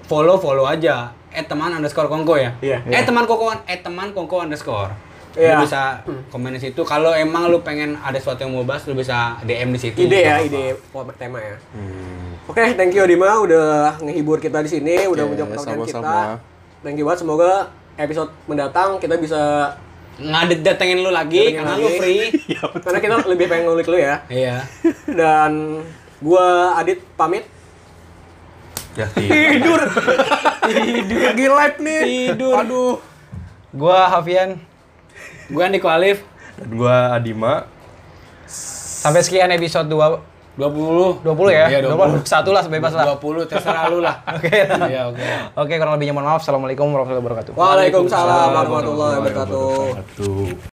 C: follow, follow aja. Eh teman underscore kongko ya.
A: Iya.
C: Eh teman kongkoan, eh teman kongko underscore.
A: Iya.
C: Lu bisa komen di situ. Kalau emang lu pengen ada sesuatu yang mau bahas, lu bisa DM di situ.
A: Ide ya,
C: Nggak apa-apa.
A: ide tema ya. Oke, thank you Dima udah ngehibur kita di sini, udah
D: Oke,
A: menjawab pertanyaan kita.
D: sama-sama.
A: Thank you banget. Semoga episode mendatang kita bisa
C: ngadet datengin lu
A: Datengin
C: lagi karena
A: lagi. Iya.
C: lu free.
A: karena kita lebih pengen ngulik lu ya.
C: Iya.
A: Dan gua Adit pamit.
D: Ya, iya.
A: Tidur. Tidur lagi live nih.
C: Tidur.
A: Aduh.
B: Gua Hafian.
C: Gua Niko Alif
D: Dan gua Adima.
B: Sampai sekian episode 2 20
C: 20
B: ya?
C: Iya, 20.
B: 21 lah sebebas lah.
C: 20 terserah lu lah.
B: Oke.
C: Iya, oke.
B: Oke, kurang lebihnya mohon maaf. Assalamualaikum warahmatullahi wabarakatuh.
A: Waalaikumsalam warahmatullahi wabarakatuh.
D: Satu.